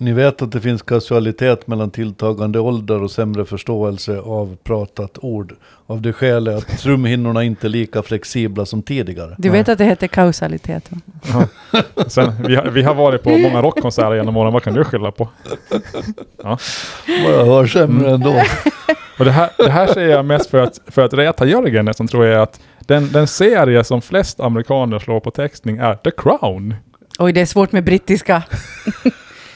Ni vet att det finns kausalitet mellan tilltagande ålder och sämre förståelse av pratat ord. Av det skälet att trumhinnorna inte är lika flexibla som tidigare. Du Nej. vet att det heter kausalitet? Va? liksom. Sen, vi, har, vi har varit på många rockkonserter genom åren, vad kan du skylla på? Mm. Vad jag hör sämre ändå. Och det här, det här säger jag mest för att, för att reta Jörgen, som tror jag att den, den serie som flest amerikaner slår på textning är The Crown. Oj, det är svårt med brittiska.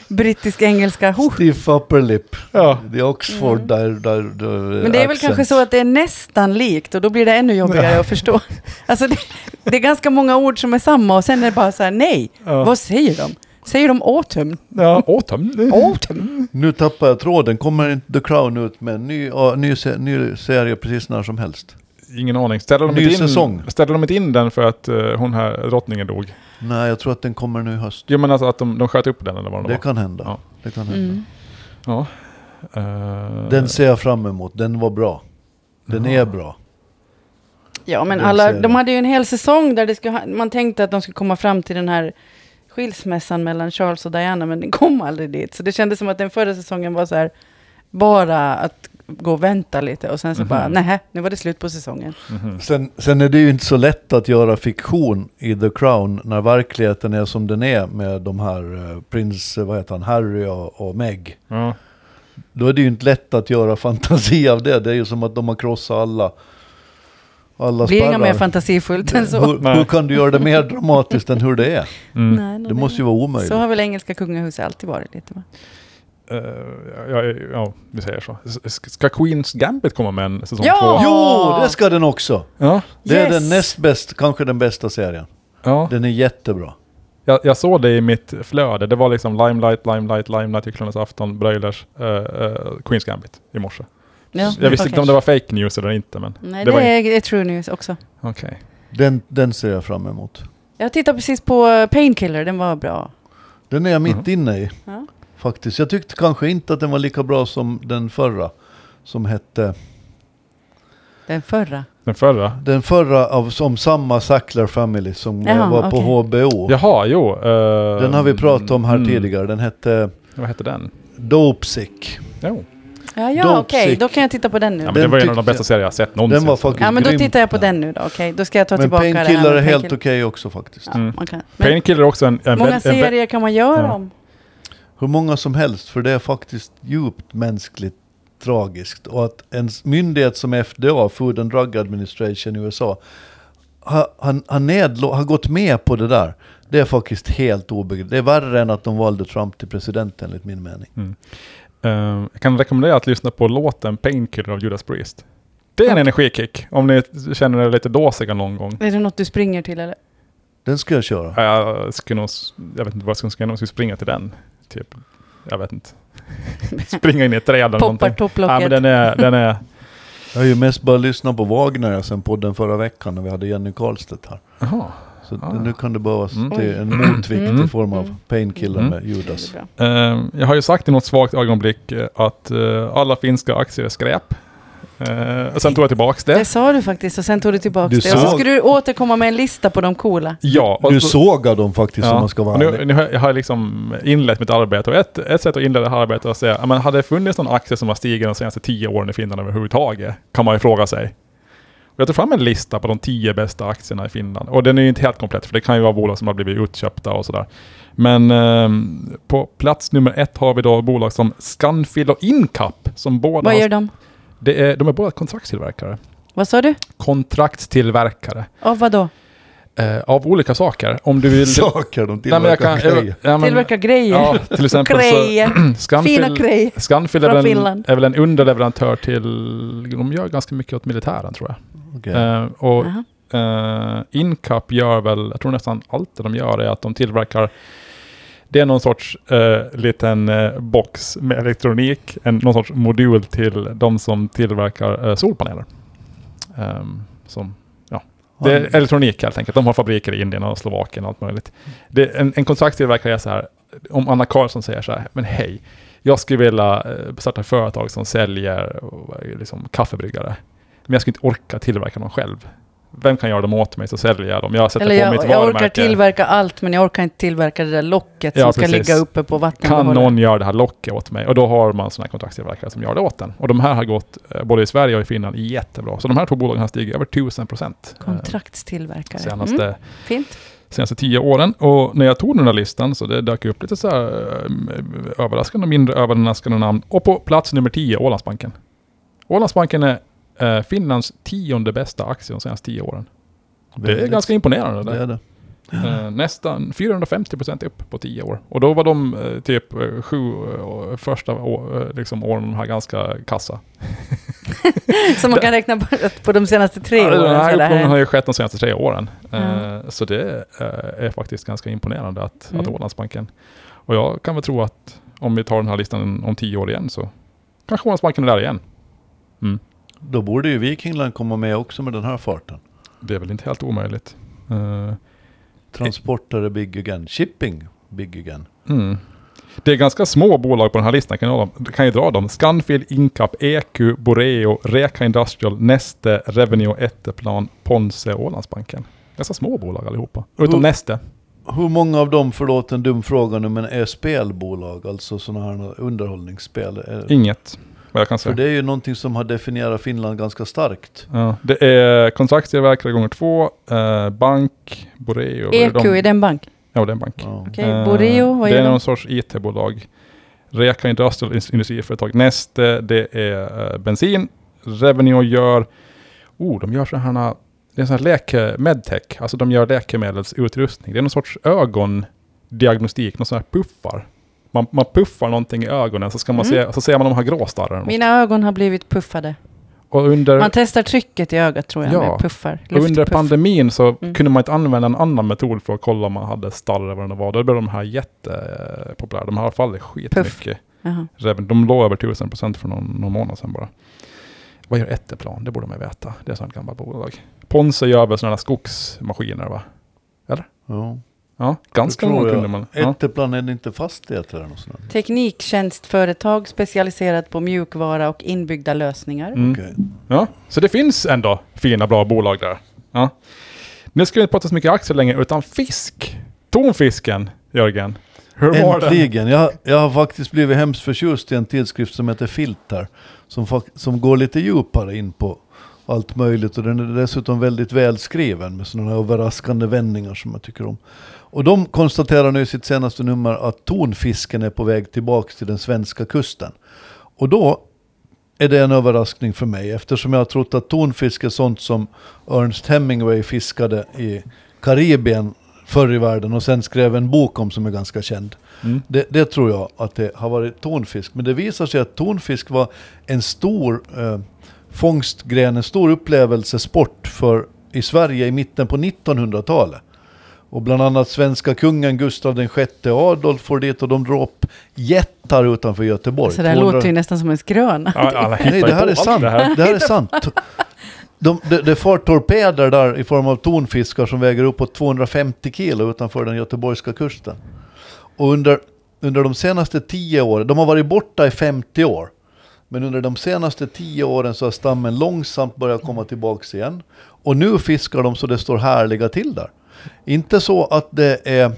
Brittisk engelska. Oh. Stiff upper lip. Ja. Det är Oxford där, där, där Mm. eh, Men det är väl kanske så att det är nästan likt och då blir det ännu jobbigare att förstå. Alltså det, det är ganska många ord som är samma och sen är det bara så här, nej, Ja. vad säger de? Säger de autumn? Ja, Autumn. Autumn? Nu tappar jag tråden. Kommer inte The Crown ut med en ny, ja, ny, se- ny serie precis när som helst? Ingen aning. Ställde de, Ny inte in, säsong. ställde de inte in den för att eh, hon här, drottningen dog? Nej, jag tror att den kommer nu i höst. Jo men alltså att de, de sköt upp den eller vad det, Det var. kan hända. Ja. Det kan hända. Mm. Ja. Eh, Den ser jag fram emot. Den var bra. Den är bra. Ja, men Den alla, serien. de hade ju en hel säsong där det skulle, ha- man tänkte att de skulle komma fram till den här skilsmässan mellan Charles och Diana, men den kom aldrig dit. Så det kändes som att den förra säsongen var så här, bara att gå och vänta lite och sen så bara, nej, nu var det slut på säsongen. mhm. Sen, sen är det ju inte så lätt att göra fiktion i The Crown när verkligheten är som den är med de här eh, prins, eh, vad heter han, Harry och, och Meg. Ja. Då är det ju inte lätt att göra fantasi av det. Det är ju som att de har krossat alla, alla Det blir inga mer spärrar. fantasifullt än så. Hur, hur kan du göra det mer dramatiskt än hur det är? Mm. Nej, nej, Det måste ju vara omöjligt. Så har väl engelska kungahuset alltid varit lite va? Eh, ja, ja, ja, vi säger så. S- s- Ska Queens Gambit komma med en säsong Ja! två? Jo, det ska den också! Ja. Det Yes! är den näst bäst, kanske den bästa serien. ja. Den är jättebra. Jag, jag såg det i mitt flöde. Det var liksom Limelight, Limelight, Limelight, Hycklarnas afton, Broilers, eh, eh, Queens Gambit i morse. Ja, jag visste okej. inte om det var fake news eller inte men... Nej, det det, var är, det är true news också. Okej. Den, den ser jag fram emot. Jag tittade precis på eh, Painkiller, den var bra. Den är jag mitt Mhm. inne i. Ja. Faktiskt. Jag tyckte kanske inte att den var lika bra som den förra. Som hette... Den förra. Den förra. Den förra av, som samma Sackler Family som eh, Jaha, var på okej. HBO. Jaha, jo. eh, Den har vi pratat om här mm. tidigare. Den hette Vad hette den? Dopesick. Jo. Ja, ja Dope okej, Sick. då kan jag titta på den nu. Ja, Ja, men, men det Den var ju en av de tyckte bästa jag- serier jag sett någonsin. Den var faktiskt då grymt, tittar jag på ja. den nu då, okej. Då ska jag ta Men tillbaka det här Painkiller med är helt Painkiller. okej också faktiskt. Ja, Mm. man kan. Men Painkiller är också en... en många väl- en väl- serier kan man göra Ja. om. Hur många som helst, för det är faktiskt djupt mänskligt tragiskt. Och att en s- myndighet som FDA, Food and Drug Administration i USA, har, har, har, nedlå- har gått med på det där. Det är faktiskt helt obegripligt. Det är värre än att de valde Trump till president enligt min mening. ehm, Eh, jag kan rekommendera att lyssna på låten Painkiller av Judas Priest. Det är en energikick, om ni känner er lite dåsiga någon gång. Är det något du springer till eller? Den ska jag köra. Ja, Jag, skulle nog, s- jag vet inte vad jag skulle säga, jag skulle springa till den. Typ. Jag vet inte. Springa in i ett träd eller Poppar någonting. Ja, men topplocket. den är, den är, Jag har ju mest bara lyssnat på Wagner sen podden förra veckan när vi hade Jenny Karlstedt här. Jaha. Så Ah. nu kan det behövas Mm. det är en motvikt Mm. i form av Mm. painkiller Mm. med Judas. Det är bra. Eh, jag har ju sagt i något svagt ögonblick eh, att eh, alla finska aktier är skräp. Eh, sen tog jag tillbaka Det det. sa du faktiskt och sen tog du tillbaka Du det. Och så såg- skulle du återkomma med en lista på de coola. Ja, och Du så- sågar dem faktiskt om man ska och vara nu, ärlig. nu har jag- jag har liksom inlett mitt arbete och ett, ett sätt att inleda det här arbetet är att säga, ja, men hade det funnits någon aktie som har stigit de senaste tio åren i Finland överhuvudtaget? Kan man ju fråga sig. Och jag tog fram en lista på de tio bästa aktierna i Finland. Och den är ju inte helt komplett, för det kan ju vara bolag som har blivit utköpta och sådär. Men ehm, på plats nummer ett har vi då bolag som Scanfil och Incap, som båda Vad har gör de? Det är, de är båda kontraktstillverkare. Vad sa du? Kontraktstillverkare. Av vad då? Eh, av olika saker. Om du vill... Saker de Nej, men jag kan, tillverkar grejer. ja, men- Tillverka grejer. Ja, till exempel så... Mm, grejer. Fina Scanfil, grejer. Scanfil från är, väl en, Finland. är väl en underleverantör till... De gör ganska mycket åt militären tror jag. Okej. Eh, och Jaha. eh, Incap gör väl, jag tror nästan allt det de gör är att de tillverkar det är någon sorts eh, liten eh, box med elektronik, en, någon sorts modul till de som tillverkar eh, solpaneler. Ehm, som, ja. Det är elektronik helt enkelt. De har fabriker i Indien och Slovakien och allt möjligt. Det, en, en kontraktstillverkare är så här, om Anna Karlsson säger så här, men hej, jag skulle vilja eh, starta ett företag som säljer eh, liksom, kaffebryggare, men jag skulle inte orka tillverka dem själv. Vem kan göra dem åt mig så säljer jag dem. Jag sätter Eller på mitt jag, jag varumärke. orkar tillverka allt, men jag orkar inte tillverka det där locket Ja, som ska precis. ligga uppe på kan vattenbehållaren. någon göra det här locket åt mig? Och då har man sådana här kontraktstillverkare som gör det åt en. Och de här har gått eh, både i Sverige och i Finland jättebra. Så de här två bolagen har stigit över 1000 procent Kontraktstillverkare. senaste, Mm, fint. senaste tio åren. Och när jag tog den här listan så det dök upp lite så här eh, överraskande och mindre överraskande namn. Och på plats nummer 10, Ålandsbanken. Ålandsbanken är eh, Finlands tionde bästa aktie de senaste tio åren. Det är Väldigt. ganska imponerande. Det är det. Eh, nästan 450 procent upp på 10 år. Och då var de eh, typ eh, sju eh, första å, eh, liksom, åren här ganska kassa. Så man kan räkna på, på de senaste tre Ja, åren. Den här så det här- uppgången har ju skett de senaste tre åren. Eh, Ja. Så det eh, är faktiskt ganska imponerande att, att Mm. Ålandsbanken... Och jag kan väl tro att om vi tar den här listan om 10 år igen så kanske Ålandsbanken är där igen. Då borde ju Vikingland komma med också med den här farten. Det är väl inte helt omöjligt. Eh, Transporter är big again. Shipping big again. Mm. Det är ganska små bolag på den här listan, kan jag, dra dem- kan jag dra dem? Scanfil, Incap, EQ, Boreo, Reka Industrial, Neste, Revenue, Etteplan, Ponse och Ålandsbanken. Ganska små bolag allihopa. Utom Mm. Neste. Hur många av dem, förlåt en dum fråga nu, men är spelbolag? Alltså sådana här underhållningsspel? Är- Inget, vad jag kan säga. För Det, det är ju någonting som har definierat Finland ganska starkt. ja. det är kontraktstillverkare gånger två, eh, bank, Boreo. vad EQ, är det en bank? Ja, det är en bank. Ja. Okej, Eh, Boreo, vad det är är det? någon sorts IT-bolag. Reka Industrial Indus- Industriföretag. Neste, det är eh, bensin. Revenue gör... Oh, de gör sådana här... Det är sån här läke, medtech, alltså de gör läkemedelsutrustning. Det är någon sorts ögondiagnostik, någon sån här puffar. Man, man puffar någonting i ögonen så, ska man Mm. se, så ser man om de har gråstarrar. eller något. Mina ögon har blivit puffade. Och under, Man testar trycket i ögat tror jag Ja. med puffar. och under luftpuff. pandemin så Mm. kunde man inte använda en annan metod för att kolla om man hade starrar eller vad det var. Då blev de här jättepopulära. De här har fallit skitmycket. Jaha. Reven, de låg över 1000 procent för någon, någon månad sedan bara. Vad gör Etteplan? Det borde man ju veta. Det är ett sånt gammalt bolag. Ponse gör väl sådana skogsmaskiner va? Ja. Ja, ganska Det tror många jag. kunde man. Ja. Mm. Etteplan är inte fastigheter eller något sånt. där. Tekniktjänstföretag specialiserat på mjukvara och inbyggda lösningar. Mm. Okej. Ja, så det finns ändå fina bra bolag där. Ja. Nu ska vi inte prata så mycket aktier längre, utan fisk. Tonfisken, Jörgen. Hur var den? Äntligen! Jag, jag har faktiskt blivit hemskt förtjust i en tidskrift som heter Filter. Som, fak- som går lite djupare in på allt möjligt. Och den är dessutom väldigt välskriven med sådana här överraskande vändningar som jag tycker om. Och de konstaterar nu i sitt senaste nummer att tonfisken är på väg tillbaka till den svenska kusten. Och då är det en överraskning för mig eftersom jag har trott att tonfisk är sånt som Ernst Hemingway fiskade i Karibien förr i världen och sen skrev en bok om som är ganska känd. Mm. Det, det tror jag att det har varit tonfisk. Men det visar sig att tonfisk var en stor eh, fångstgren, en stor upplevelsesport för, i Sverige i mitten på 1900-talet. Och bland annat svenska kungen Gustav den sjätte Adolf får dit och de dråp jättar utanför Göteborg. Så det här 200 låter ju nästan som en skröna. Ja, alla hittar Nej, ju det här på är sant. Det här. Det här är sant. De, de, det far torpeder där i form av tonfiskar som väger uppåt 250 kilo utanför den göteborgska kusten. Och under, under de senaste 10 åren, de har varit borta i 50 år, men under de senaste 10 åren så har stammen långsamt börjat komma tillbaka igen. Och nu fiskar de så det står härliga till där. Inte så att det är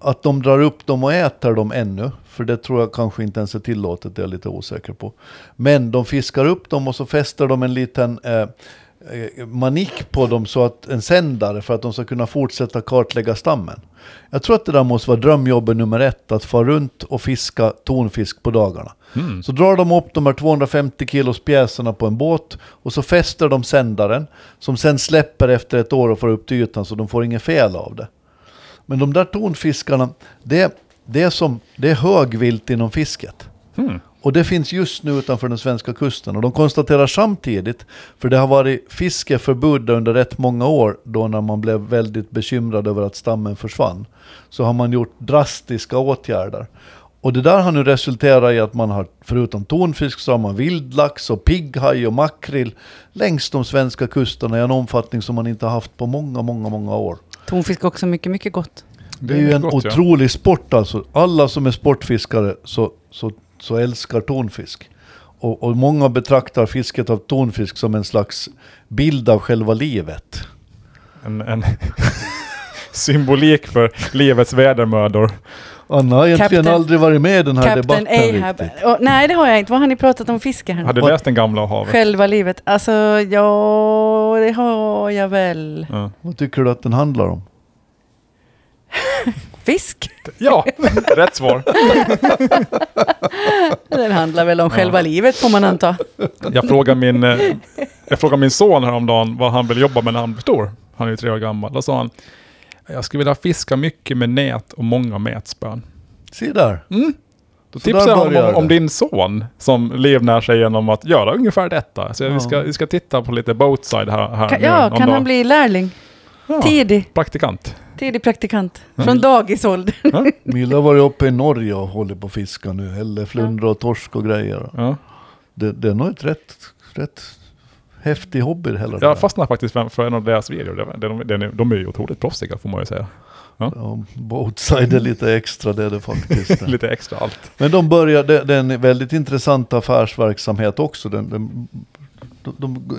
att de drar upp dem och äter dem ännu, för det tror jag kanske inte ens är tillåtet, det är jag lite osäker på. Men de fiskar upp dem och så fäster de en liten eh, eh, manik på dem, så att en sändare, för att de ska kunna fortsätta kartlägga stammen. Jag tror att det där måste vara drömjobbet nummer ett, att fara runt och fiska tonfisk på dagarna. Mm. Så drar de upp de här 250 kilos pjäserna på en båt och så fäster de sändaren, som sen släpper efter ett år och får upp till ytan, så de får inget fel av det. Men de där tonfiskarna, det, det, är, som, det är högvilt inom fisket. Och det finns just nu utanför den svenska kusten. Och de konstaterar samtidigt, för det har varit fiskeförbud där under rätt många år, då när man blev väldigt bekymrad över att stammen försvann, så har man gjort drastiska åtgärder. Och det där har nu resulterat i att man har, förutom tonfisk, så har man vildlax och pigghaj och makrill längs de svenska kusterna i en omfattning som man inte har haft på många, många, många år. Tonfisk också mycket, mycket gott. Det är ju en gott, ja. otrolig sport alltså. Alla som är sportfiskare så, så, så älskar tonfisk. Och, och många betraktar fisket av tonfisk som en slags bild av själva livet. En, en symbolik för livets vädermödor. Anna har egentligen Captain- aldrig varit med i den här Captain debatten Ahab. riktigt. Åh, nej, det har jag inte. Vad har ni pratat om fiske här? Har nu? du Vad- läst den gamla och havet? Själva livet. Alltså, ja, det har jag väl. Ja. Vad tycker du att den handlar om? Fisk. ja, rätt svar. Den handlar väl om själva livet får man anta. Jag frågade min, eh, jag frågade min son häromdagen vad han vill jobba med när han blir stor. Han är ju tre år gammal. Då sa han, jag skulle vilja fiska mycket med nät och många mätspön. Mm. Se där! Då Så tipsade där jag honom börjar om, om det. din son som livnär sig genom att göra ungefär detta. Så vi, ska, vi ska titta på lite boatside här, här Kan, nu ja, någon kan dag. han bli lärling? Ja, Tidig. praktikant? Tidig praktikant. Från dagisålder. Milla har varit uppe i Norge och håller på att fiska nu. Häller flundra och torsk och grejer. Ja. Det, det är nog ett rätt, rätt häftig hobby hela det där. Jag fastnade faktiskt för- för en av deras videor. Det var- De, de, de är ju otroligt proffsiga får man ju säga. Ja, boatside är lite extra, det är det faktiskt. Lite extra allt. Men de börjar, det, det är en väldigt intressant affärsverksamhet också. Den, den, de, de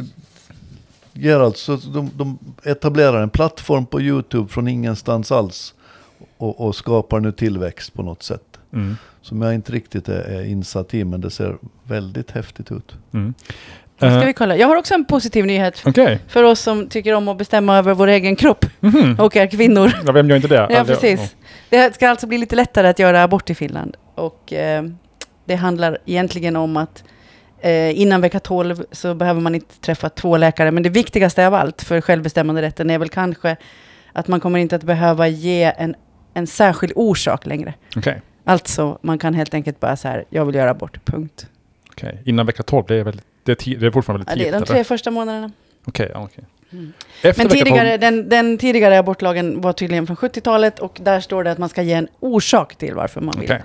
ger alltså, de, de etablerar en plattform på YouTube från ingenstans alls. Och, och skapar nu tillväxt på något sätt. Mm. Som jag inte riktigt är, är insatt i, men det ser väldigt häftigt ut. Mm. Nu ska Eh, vi kolla. Jag har också en positiv nyhet. Okej. För oss som tycker om att bestämma över vår egen kropp Mhm. och är kvinnor. Ja, vem gör inte det? Oh. Ja, Eller- precis. Det ska alltså bli lite lättare att göra abort i Finland. Och eh, det handlar egentligen om att eh, innan vecka 12 så behöver man inte träffa två läkare. Men det viktigaste av allt för självbestämmanderätten är väl kanske att man kommer inte att behöva ge en, en särskild orsak längre. Okej. Alltså, man kan helt enkelt bara så här, jag vill göra abort, punkt. Okej, innan vecka 12, det är, väl, det är, ti- det är fortfarande Ja, det väldigt tidigt? är de tre eller? första månaderna. Okej, ja, okej. Mm. Efter Men vecka 12 tidigare, den, den tidigare abortlagen var tydligen från 70-talet och där står det att man ska ge en orsak till varför man vill Okej.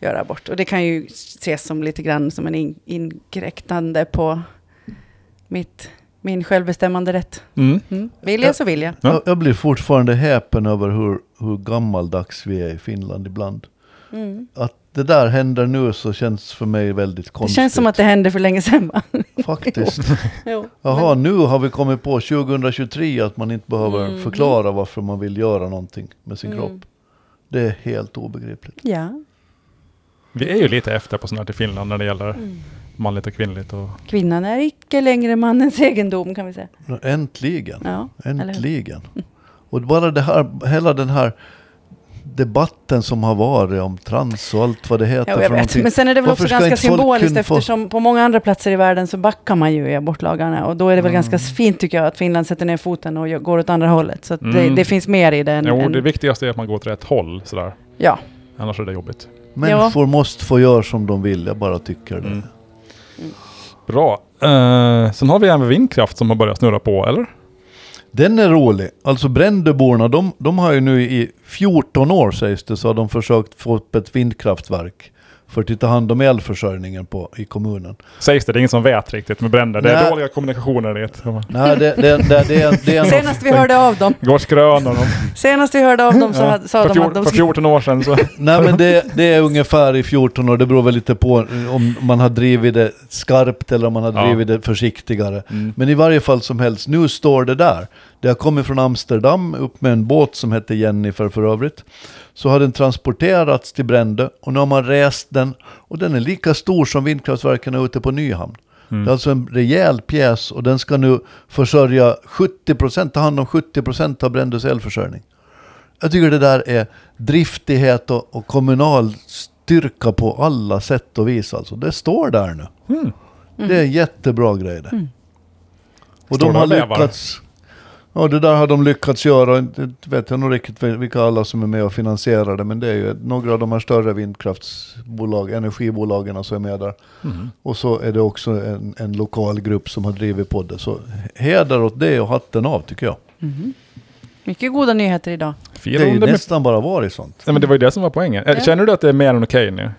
göra abort. Och det kan ju ses som lite grann som en in, inkräktande på mitt, min självbestämmande rätt. Mm. Mm. Vill jag så vill jag. Ja. Jag, jag blir fortfarande häpen över hur, hur gammaldags vi är i Finland ibland. Mm. Att det där händer nu så känns för mig väldigt Det konstigt. känns som att det hände för länge sedan va? Faktiskt. jo. Jaha, nu har vi kommit på 2023 att man inte behöver Mm, förklara varför man vill göra någonting med sin kropp. Det är helt obegripligt. Ja, Vi är ju lite efter på sånt här till Finland när det gäller Mm. manligt och kvinnligt. Och, kvinnan är icke längre mannens egendom kan vi säga. Äntligen. Ja, eller hur? Äntligen. Och bara det här, hela den här debatten som har varit om trans och allt vad det heter. Ja, jag för vet. någonting. Men sen är det väl Varför också ska ganska inte folk symboliskt kunna få- eftersom på många andra platser i världen så backar man ju i abortlagarna. Och då är det väl ganska Mm. fint tycker jag att Finland sätter ner foten och gör- går åt andra hållet. Så att det, Mm. det finns mer i det än... jo, än- det viktigaste är att man går åt rätt håll sådär. ja. Annars är det jobbigt. Människor måste få göra som de vill, jag bara tycker det. Bra. Eh, sen har vi även vindkraft som har börjat snurra på, eller? Den är rolig. Alltså Brändeborna, de, de har ju nu i 14 år sägs det, så har de försökt få upp ett vindkraftverk för att ta hand om elförsörjningen på, i kommunen. Sägs det, det är ingen som vet riktigt med bränder. Det är Nej. dåliga kommunikationer det. Nej, det, det, det, det, är- det är en... Senast vi hörde av dem, Går skrönor om. senast vi hörde av dem så hade, sa för, de fjor, att de för skulle... 14 år sedan så... Nej men det, det är ungefär i 14 år, det beror väl lite på om man har drivit det skarpt eller om man har Ja. drivit det försiktigare. Mm. Men i varje fall som helst, nu står det där. Det har kommit från Amsterdam upp med en båt som hette Jennifer för övrigt. Så har den transporterats till Brände och nu har man rest den och den är lika stor som vindkraftverken är ute på Nyhamn. Mm. Det är alltså en rejäl pjäs och den ska nu försörja 70%, ta hand om 70% av Brändes elförsörjning. Jag tycker det där är driftighet och, och kommunal styrka på alla sätt och vis. Alltså. Det står där nu. Mm. Det är en jättebra grej det. Och Står de det har och bävar? lyckats... Ja, det där har de lyckats göra. Inte vet jag nog riktigt vilka alla som är med och finansierar det, men det är ju några av de här större vindkraftsbolag, energibolagen som är med där. Mm. Och så är det också en, en lokal grupp som har drivit på det. Så heder åt det och hatten av tycker jag. Mycket goda nyheter idag. Fyra Det är ju under- nästan bara varit sånt. Nej, men det var ju det som var poängen. Eh, Ja. Känner du att det är mer än okej nu?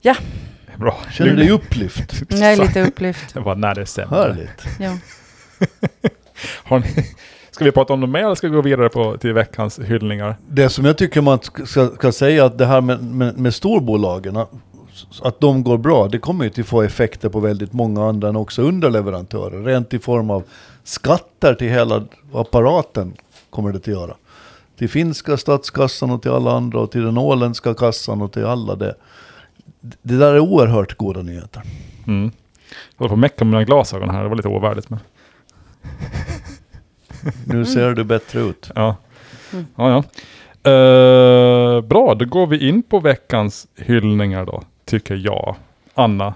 Ja, Bra. Känner du dig upplyft? jag är lite upplyft. Jag bara, nej det är sämre. Härligt. Ja. Har ni... Ska vi prata om det mer eller ska vi gå vidare på, till veckans hyllningar? Det som jag tycker man ska, ska säga att det här med, med, med storbolagen, att de går bra, det kommer ju till få effekter på väldigt många andra än också underleverantörer. Rent i form av skatter till hela apparaten kommer det att göra. Till finska statskassan och till alla andra och till den åländska kassan och till alla det. Det där är oerhört goda nyheter. Mm. Jag håller på att mecka med mina glasögon här, det var lite ovärdigt. Men... Mm. Nu ser du bättre ut. Ja. ja, ja. Eh, bra, då går vi in på veckans hyllningar då, tycker jag. Anna,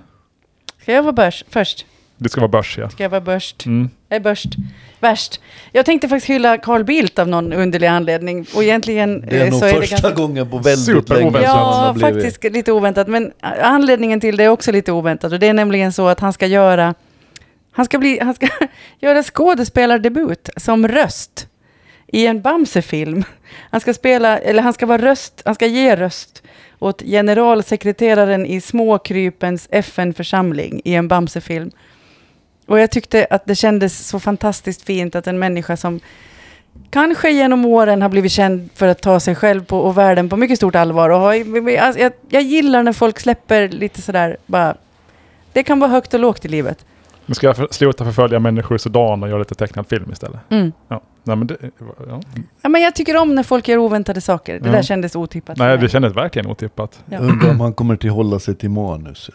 Ska jag vara börs? först? det ska vara börs ja. Ska jag vara börst? Mm. Jag är börst. Värst. Jag tänkte faktiskt hylla Carl Bildt av någon underlig anledning. Och egentligen Det är eh, nog så är det första ganska... gången på väldigt länge Superoväntat. som han har Ja, blivit- faktiskt lite oväntat. Men anledningen till det är också lite oväntat. Och det är nämligen så att han ska göra... Han ska, bli, han ska göra skådespelardebut som röst i en Bamse-film. Han ska spela, eller han ska vara röst, han ska ge röst åt generalsekreteraren i småkrypens FN-församling i en Bamse-film. Och jag tyckte att det kändes så fantastiskt fint att en människa som kanske genom åren har blivit känd för att ta sig själv på, och världen på mycket stort allvar. Och har, alltså, jag, jag gillar när folk släpper lite sådär bara, det kan vara högt och lågt i livet. Nu ska jag för, sluta förfölja människor i Sudan och göra lite tecknad film istället. Ja. Nej, men det, ja. Ja, men jag tycker om när folk gör oväntade saker. Det Ja. där kändes otippat. för Mm. Nej, mig. det kändes verkligen otippat. Ja. Undrar om han kommer till hålla sig till manus.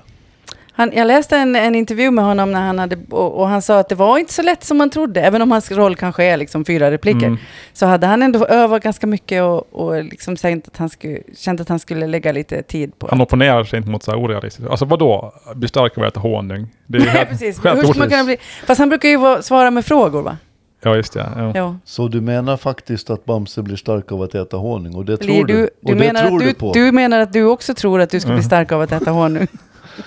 Han, jag läste en, en intervju med honom när han hade, och, och han sa att det var inte så lätt som man trodde. Även om hans roll kanske är liksom fyra repliker. Mm. Så hade han ändå övat ganska mycket och, och liksom känt, att han skulle, känt att han skulle lägga lite tid på Han det. opponerar sig inte mot så här orealistiskt. Alltså vadå? Bli stark och äta honung? Det är ju Nej, helt- precis. skönt Hur ska man ord. kunna bli... Fast han brukar ju vara- svara med frågor, va? Ja, just det. Ja. Ja. Så du menar faktiskt att Bamse blir stark av att äta honung? Och det Blir tror du, Du och det menar, tror att du, du, på? du menar att du också tror att du ska bli Mm. stark av att äta honung?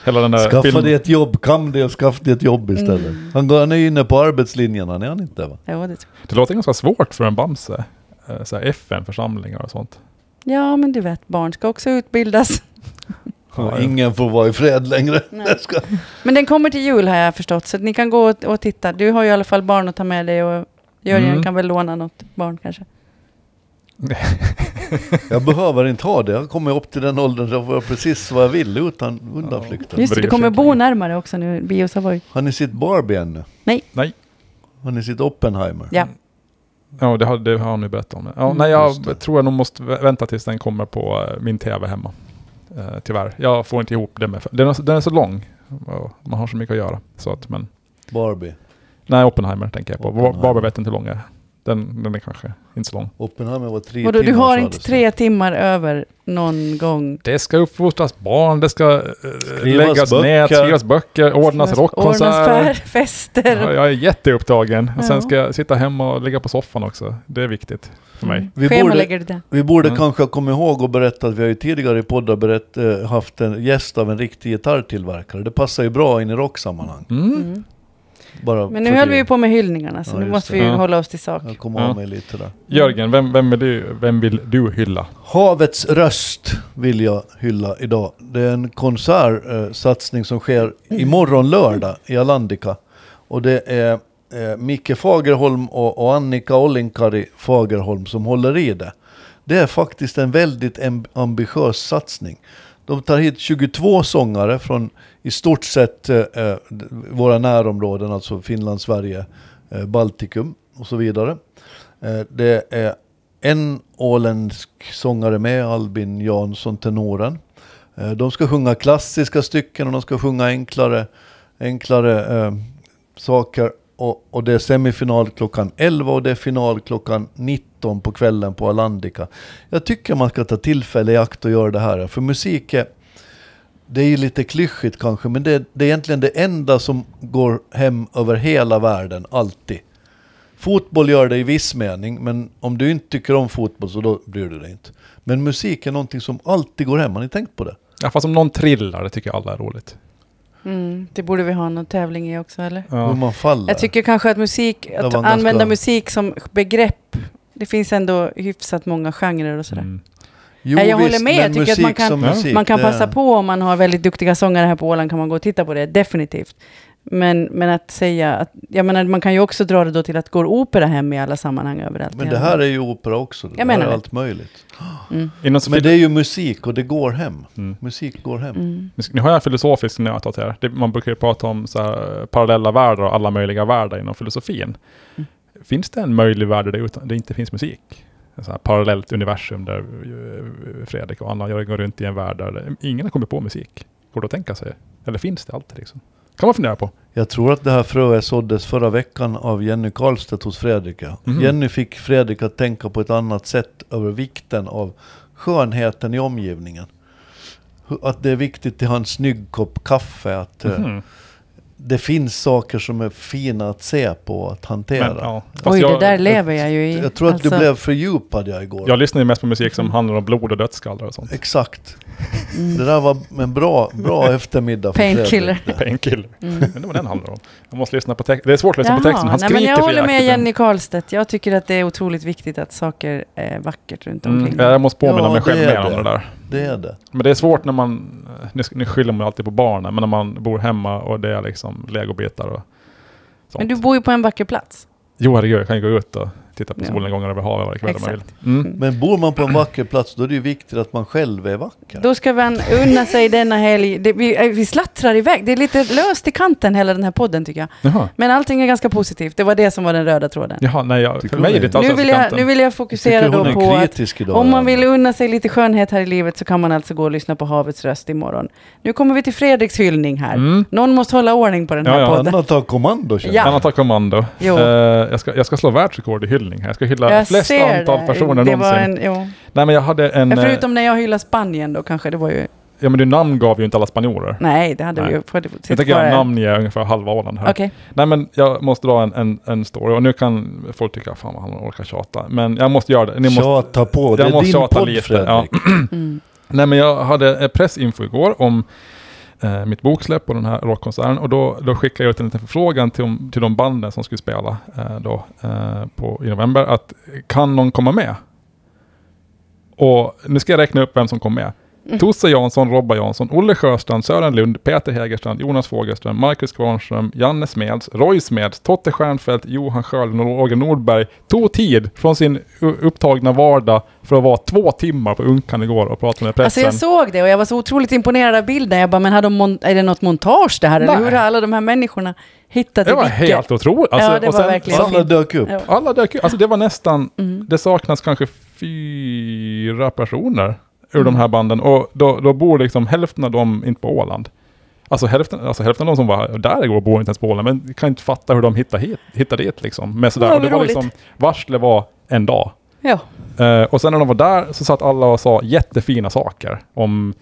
Hela den där Skaffa filmen. dig ett jobb, kam dig och skaffa dig ett Mm. jobb istället. Han, går, han är inne på arbetslinjen, han är han inte va? Ja, det tror Det låter ganska svårt för en Bamse. Eh, Så här FN-församlingar och sånt. jag. ja, men du vet, barn ska också utbildas. Ja, Och ingen får vara i fred längre. Nej. Jag ska- Men den kommer till jul har jag förstått, så att ni kan gå och, och titta. Du har ju i alla fall barn att ta med dig och Jörgen Mm. kan väl låna något barn kanske. Jag behöver inte ha det, jag kommer upp till den åldern så jag får göra precis vad jag vill utan undanflykter. Just det, du bryr kommer sig bo inte. närmare också nu, Bio Savoy. Har ni sitt Barbie ännu? Nej. Har ni sitt Oppenheimer? Ja. Ja, det har, det har han ju berättat om. Ja, Mm, nej, jag just det. tror jag nog måste vä- vänta tills den kommer på eh, min tv hemma. Eh, tyvärr. Jag får inte ihop det med... Den är, så- den är så lång. och Man har så mycket att göra. Så att, men, Barbie. nej, Oppenheimer tänker jag på. Oppenheimer. Barbie vet inte hur lång är. Den, den är kanske inte så lång. Oppenheimer var tre Vadå, du timmar, har sa inte det. tre timmar över någon gång? Det ska uppfostras barn, det ska eh, läggas böcker. nät, skrivas böcker, ordnas Ordnas fär, rockkonserter. fester. Ja, jag är jätteupptagen. Och Ja. sen ska jag sitta hemma och ligga på soffan också. Det är viktigt för mig. Mm. Vi Schemalägger du det? Vi borde Mm. kanske komma ihåg och berätta att vi har ju tidigare i poddar berätt, eh, haft en gäst av en riktig gitarrtillverkare. Det passar ju bra in i rocksammanhang. Mm. Mm. Bara Men nu för höll det. vi ju på med hyllningarna, så Ja, nu just måste det. vi ju Ja. hålla oss till sak. Jag kom Ja. av mig lite där. Jörgen, vem, vem, är du, vem vill du hylla? Havets röst vill jag hylla idag. Det är en konsertsatsning som sker imorgon lördag i Alandika. Och det är eh, Micke Fagerholm och, och Annika Ollinkari Fagerholm som håller i det. Det är faktiskt en väldigt amb- ambitiös satsning. De tar hit 22 sångare från i stort sett eh, eh, d- våra närområden, alltså Finland, Sverige, eh, Baltikum och så vidare. Eh, det är en åländsk sångare med, Albin Jansson, tenoren. Eh, de ska sjunga klassiska stycken och de ska sjunga enklare, enklare eh, saker. Och, och det är semifinal klockan 11 och det är final klockan 19 på kvällen på Alandica. Jag tycker man ska ta tillfälle i akt och göra det här. För musik är, det är ju lite klyschigt kanske, men det, det är egentligen det enda som går hem över hela världen, alltid. Fotboll gör det i viss mening, men om du inte tycker om fotboll så då bryr du dig inte. Men musik är någonting som alltid går hem, har ni tänkt på det? Ja, fast om någon trillar, det tycker jag alla är roligt. Mm, det borde vi ha någon tävling i också, eller? Ja. Hur man faller. Jag tycker kanske att musik, var att en ganska- använda musik som begrepp, det finns ändå hyfsat många genrer och sådär. Mm. jo, Nej, jag håller med. men Jag tycker att man musik kan- som Ja. Man kan Typ, det- passa på om man har väldigt duktiga sångare här på Åland, kan man gå och titta på det, definitivt. Men, men att säga att, jag menar, man kan ju också dra det då till att går opera hem i alla sammanhang överallt. Men i det alla- här är ju opera också. Det Jag här menar är det. allt möjligt. Mm. Innan så Men det är ju musik och det går hem. Mm. Musik går hem. Mm. Nu har jag en filosofisk nöt här. Det, man brukar ju prata om så här, eh, parallella världar och alla möjliga världar inom filosofin. Mm. Finns det en möjlig värld där det, utan, där det inte finns musik? Ett så här parallellt universum där eh, Fredrik och Anna och jag går runt i en värld där det- ingen har kommit på musik. Går det att tänka sig? Eller finns det alltid liksom? kan man fundera på. Jag tror att det här fröet såddes förra veckan av Jenny Karlstedt hos Fredrik. ja. Mhm. Jenny fick Fredrik att tänka på ett annat sätt över vikten av skönheten i omgivningen. Hu- Att det är viktigt till hans snygg kopp kaffe, att eh, Mhm. det finns saker som är fina att se på och att hantera. Men, ja. Fast Oj, det jag, där lever jag ju i. Jag tror att du Alltså, blev fördjupad jag igår. jag lyssnar ju mest på musik som handlar om blod och dödsskallar och sånt. Exakt. Mm. Det där var en bra, bra eftermiddag för Painkiller. Fredrik. Painkiller. Mm. Men det var den handlar om. Jag måste lyssna på tex- Det är svårt att lyssna på Jaha, texten. Han nej, men skriker jag för håller med jäkligt. Jenny Karlstedt. Jag tycker att det är otroligt viktigt att saker är vackert runt omkring. Mm, jag måste påminna Ja, mig själv det är mer om det. det där. Det är det. Men det är svårt när man, nu, sk- nu skyller man ju alltid på barnen, men när man bor hemma och det är liksom legobitar och sånt. Men du bor ju på en vacker plats. Jo, herregud, jag kan ju gå ut och titta på Ja. solnedgångar över havet varje kväll om jag vill. Exakt. Mm. Men bor man på en vacker plats då är det ju viktigt att man själv är vacker. Då ska man unna sig denna helg. Det, vi, eh, vi slattrar iväg. Det är lite löst i kanten hela den här podden tycker jag. Jaha. Men allting är ganska positivt. Det var det som var den röda tråden. Jaha, nej, jag, Tycker för du mig är det? det inte alls nu, vill jag, önskekanten. nu vill jag Tycker fokusera då hon är på att kritisk idag, om man Anna. vill unna sig lite skönhet här i livet så kan man alltså gå och lyssna på havets röst imorgon. Nu kommer vi till Fredriks hyllning här. Mm. Någon måste hålla ordning på den Ja, här ja. podden. Anna tar kommando känner Ja. jag. Anna tar kommando. Jo. Eh, jag, ska, jag ska slå världsrekord i hyllning här. Jag ska hylla flest antal personer det var någonsin. en, jo. Nej, men jag hade en... Men eh, Förutom när jag hyllade Spanien då kanske, det var ju... Ja, men du namngav ju inte alla spanjorer. Nej, det hade Nej. vi ju... För, det, Jag tänker jag namnger ungefär halva Åland här. Okej. Nej men jag måste dra en, en, en story och nu kan folk tycka fan vad han orkar tjata. Men jag måste göra det. Ni måste, Tjata på, det jag är måste din tjata podd lite, Fredrik. ja. Mm. nej men jag hade eh, pressinfo igår om eh, mitt boksläpp och den här rockkonserten och då, då skickade jag ut en liten förfrågan till, de- till de banden som skulle spela eh, då eh, på, i november att kan någon komma med? Och nu ska jag räkna upp vem som kom med. Mm. Tosse Jansson, Robba Jansson, Olle Sjöstrand, Sören Lund, Peter Hägerstrand, Jonas Fogelström, Marcus Kvarnström, Janne Smeds, Roy Smeds, Totte Stjernfeldt, Johan Sjölund och Roger Nordberg tog tid från sin u- upptagna vardag för att vara två timmar på Unkan igår och prata med Alltså pressen. jag såg det och jag var så otroligt imponerad av bilden. Jag bara, men har de mon- är det något montage det här? Eller Nej. hur har alla de här människorna hittat det var vilket? helt otroligt. Ja, Alltså, det och var sen- verkligen. Alla dök upp. Ja. Alla dök ju- Alltså det var nästan, Mm. det saknas kanske fyra personer ur de Mm. här banden. Och då, då bor liksom hälften av dem inte på Åland. Alltså hälften, alltså hälften av de som var där igår bor inte ens på Åland, men kan inte fatta hur de hittade, hit, hittade dit liksom. Men sådär. Ja, och det vad var roligt. liksom, varslet var en dag. Ja. Eh, och sen när de var där så satt alla och sa jättefina saker om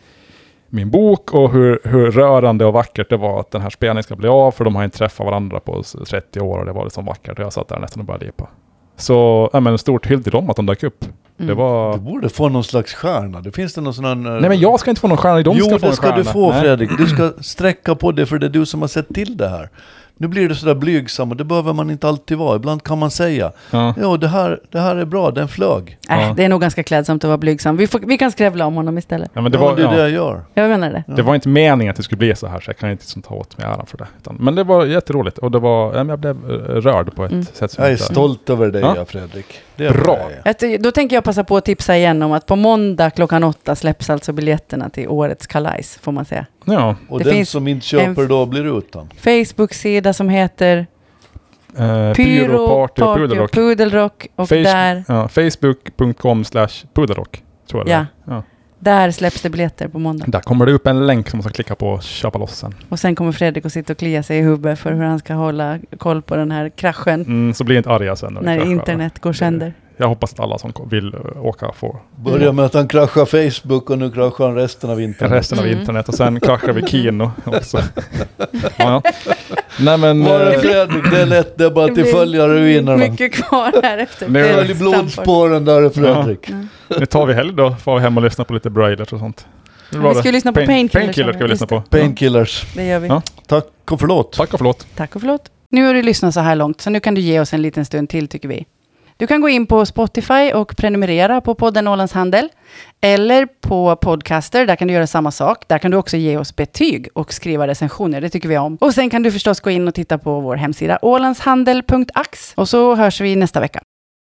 min bok och hur, hur rörande och vackert det var att den här spelningen ska bli av, för de har inte träffat varandra på s- 30 år och det var liksom vackert. Och jag satt där nästan och började lipa. Så, ja men stort hyll till dem att de dök upp. Det var... Du borde få någon slags stjärna. Det finns det någon sån här... Nej men jag ska inte få någon stjärna, de jo, ska få det en ska stjärna. du få Nej. Fredrik. Du ska sträcka på det för det är du som har sett till det här. Nu blir du sådär blygsam och det behöver man inte alltid vara. Ibland kan man säga, Ja. ja det här, det här är bra, den flög. Äh, Ja. Det är nog ganska klädsamt att vara blygsam. Vi, får, vi kan skrävla om honom istället. Ja, men Det, det, ja, var, det är ja, det jag gör. Jag menar det. det var inte meningen att det skulle bli så här, så jag kan inte liksom ta åt mig äran för det. Utan, men det var jätteroligt och det var, ja, men jag blev eh, rörd på ett Mm. sätt som Jag är inte- stolt över dig Ja. ja. Fredrik. Det är Bra. jag är. Ett, då tänker jag passa på att tipsa igen om att på måndag klockan åtta släpps alltså biljetterna till årets kalajs, får man säga. Ja. Och Det den finns som inte köper då blir utan. Facebook-sida som heter Eh, Pyro, Party och och Pudelrock. Pudelrock. Och Face- där, Ja, Facebook.com slash pudelrock. Tror jag Ja. det är. ja. där släpps det biljetter på måndag. Där kommer det upp en länk som man ska klicka på och köpa loss sen. Och sen kommer Fredrik att sitta och klia sig i huvudet för hur han ska hålla koll på den här kraschen Mm, så blir inte arga sen. När, det när kraschar. internet går sönder. Jag hoppas att alla som ko- vill eh, åka får Börja med att han kraschar Facebook och nu kraschar han resten av internet. resten av Mm. internet och sen kraschar vi Kino också. ja, ja. Nej men... Var eh, det Fredrik, det är lätt, det är bara Det att till blir följa ruinerna. Mycket kvar här efter. Nu- Fredriks Fredrik Följ blodspåren där Fredrik. trampar. Mm. Nu tar vi helg då, får vi hem och lyssna på lite Brailers och sånt. Det var Vi det. ska ju lyssna på Pain- Painkiller, Painkiller ska vi just lyssna på. Painkillers. Det gör vi. Ja. Tack och förlåt. Tack och förlåt. Tack och förlåt. Nu har du lyssnat så här långt, så nu kan du ge oss en liten stund till tycker vi. Du kan gå in på Spotify och prenumerera på podden Ålands Handel. Eller på Podcaster, där kan du göra samma sak. Där kan du också ge oss betyg och skriva recensioner, det tycker vi om. Och sen kan du förstås gå in och titta på vår hemsida ålandshandel.ax. Och så hörs vi nästa vecka.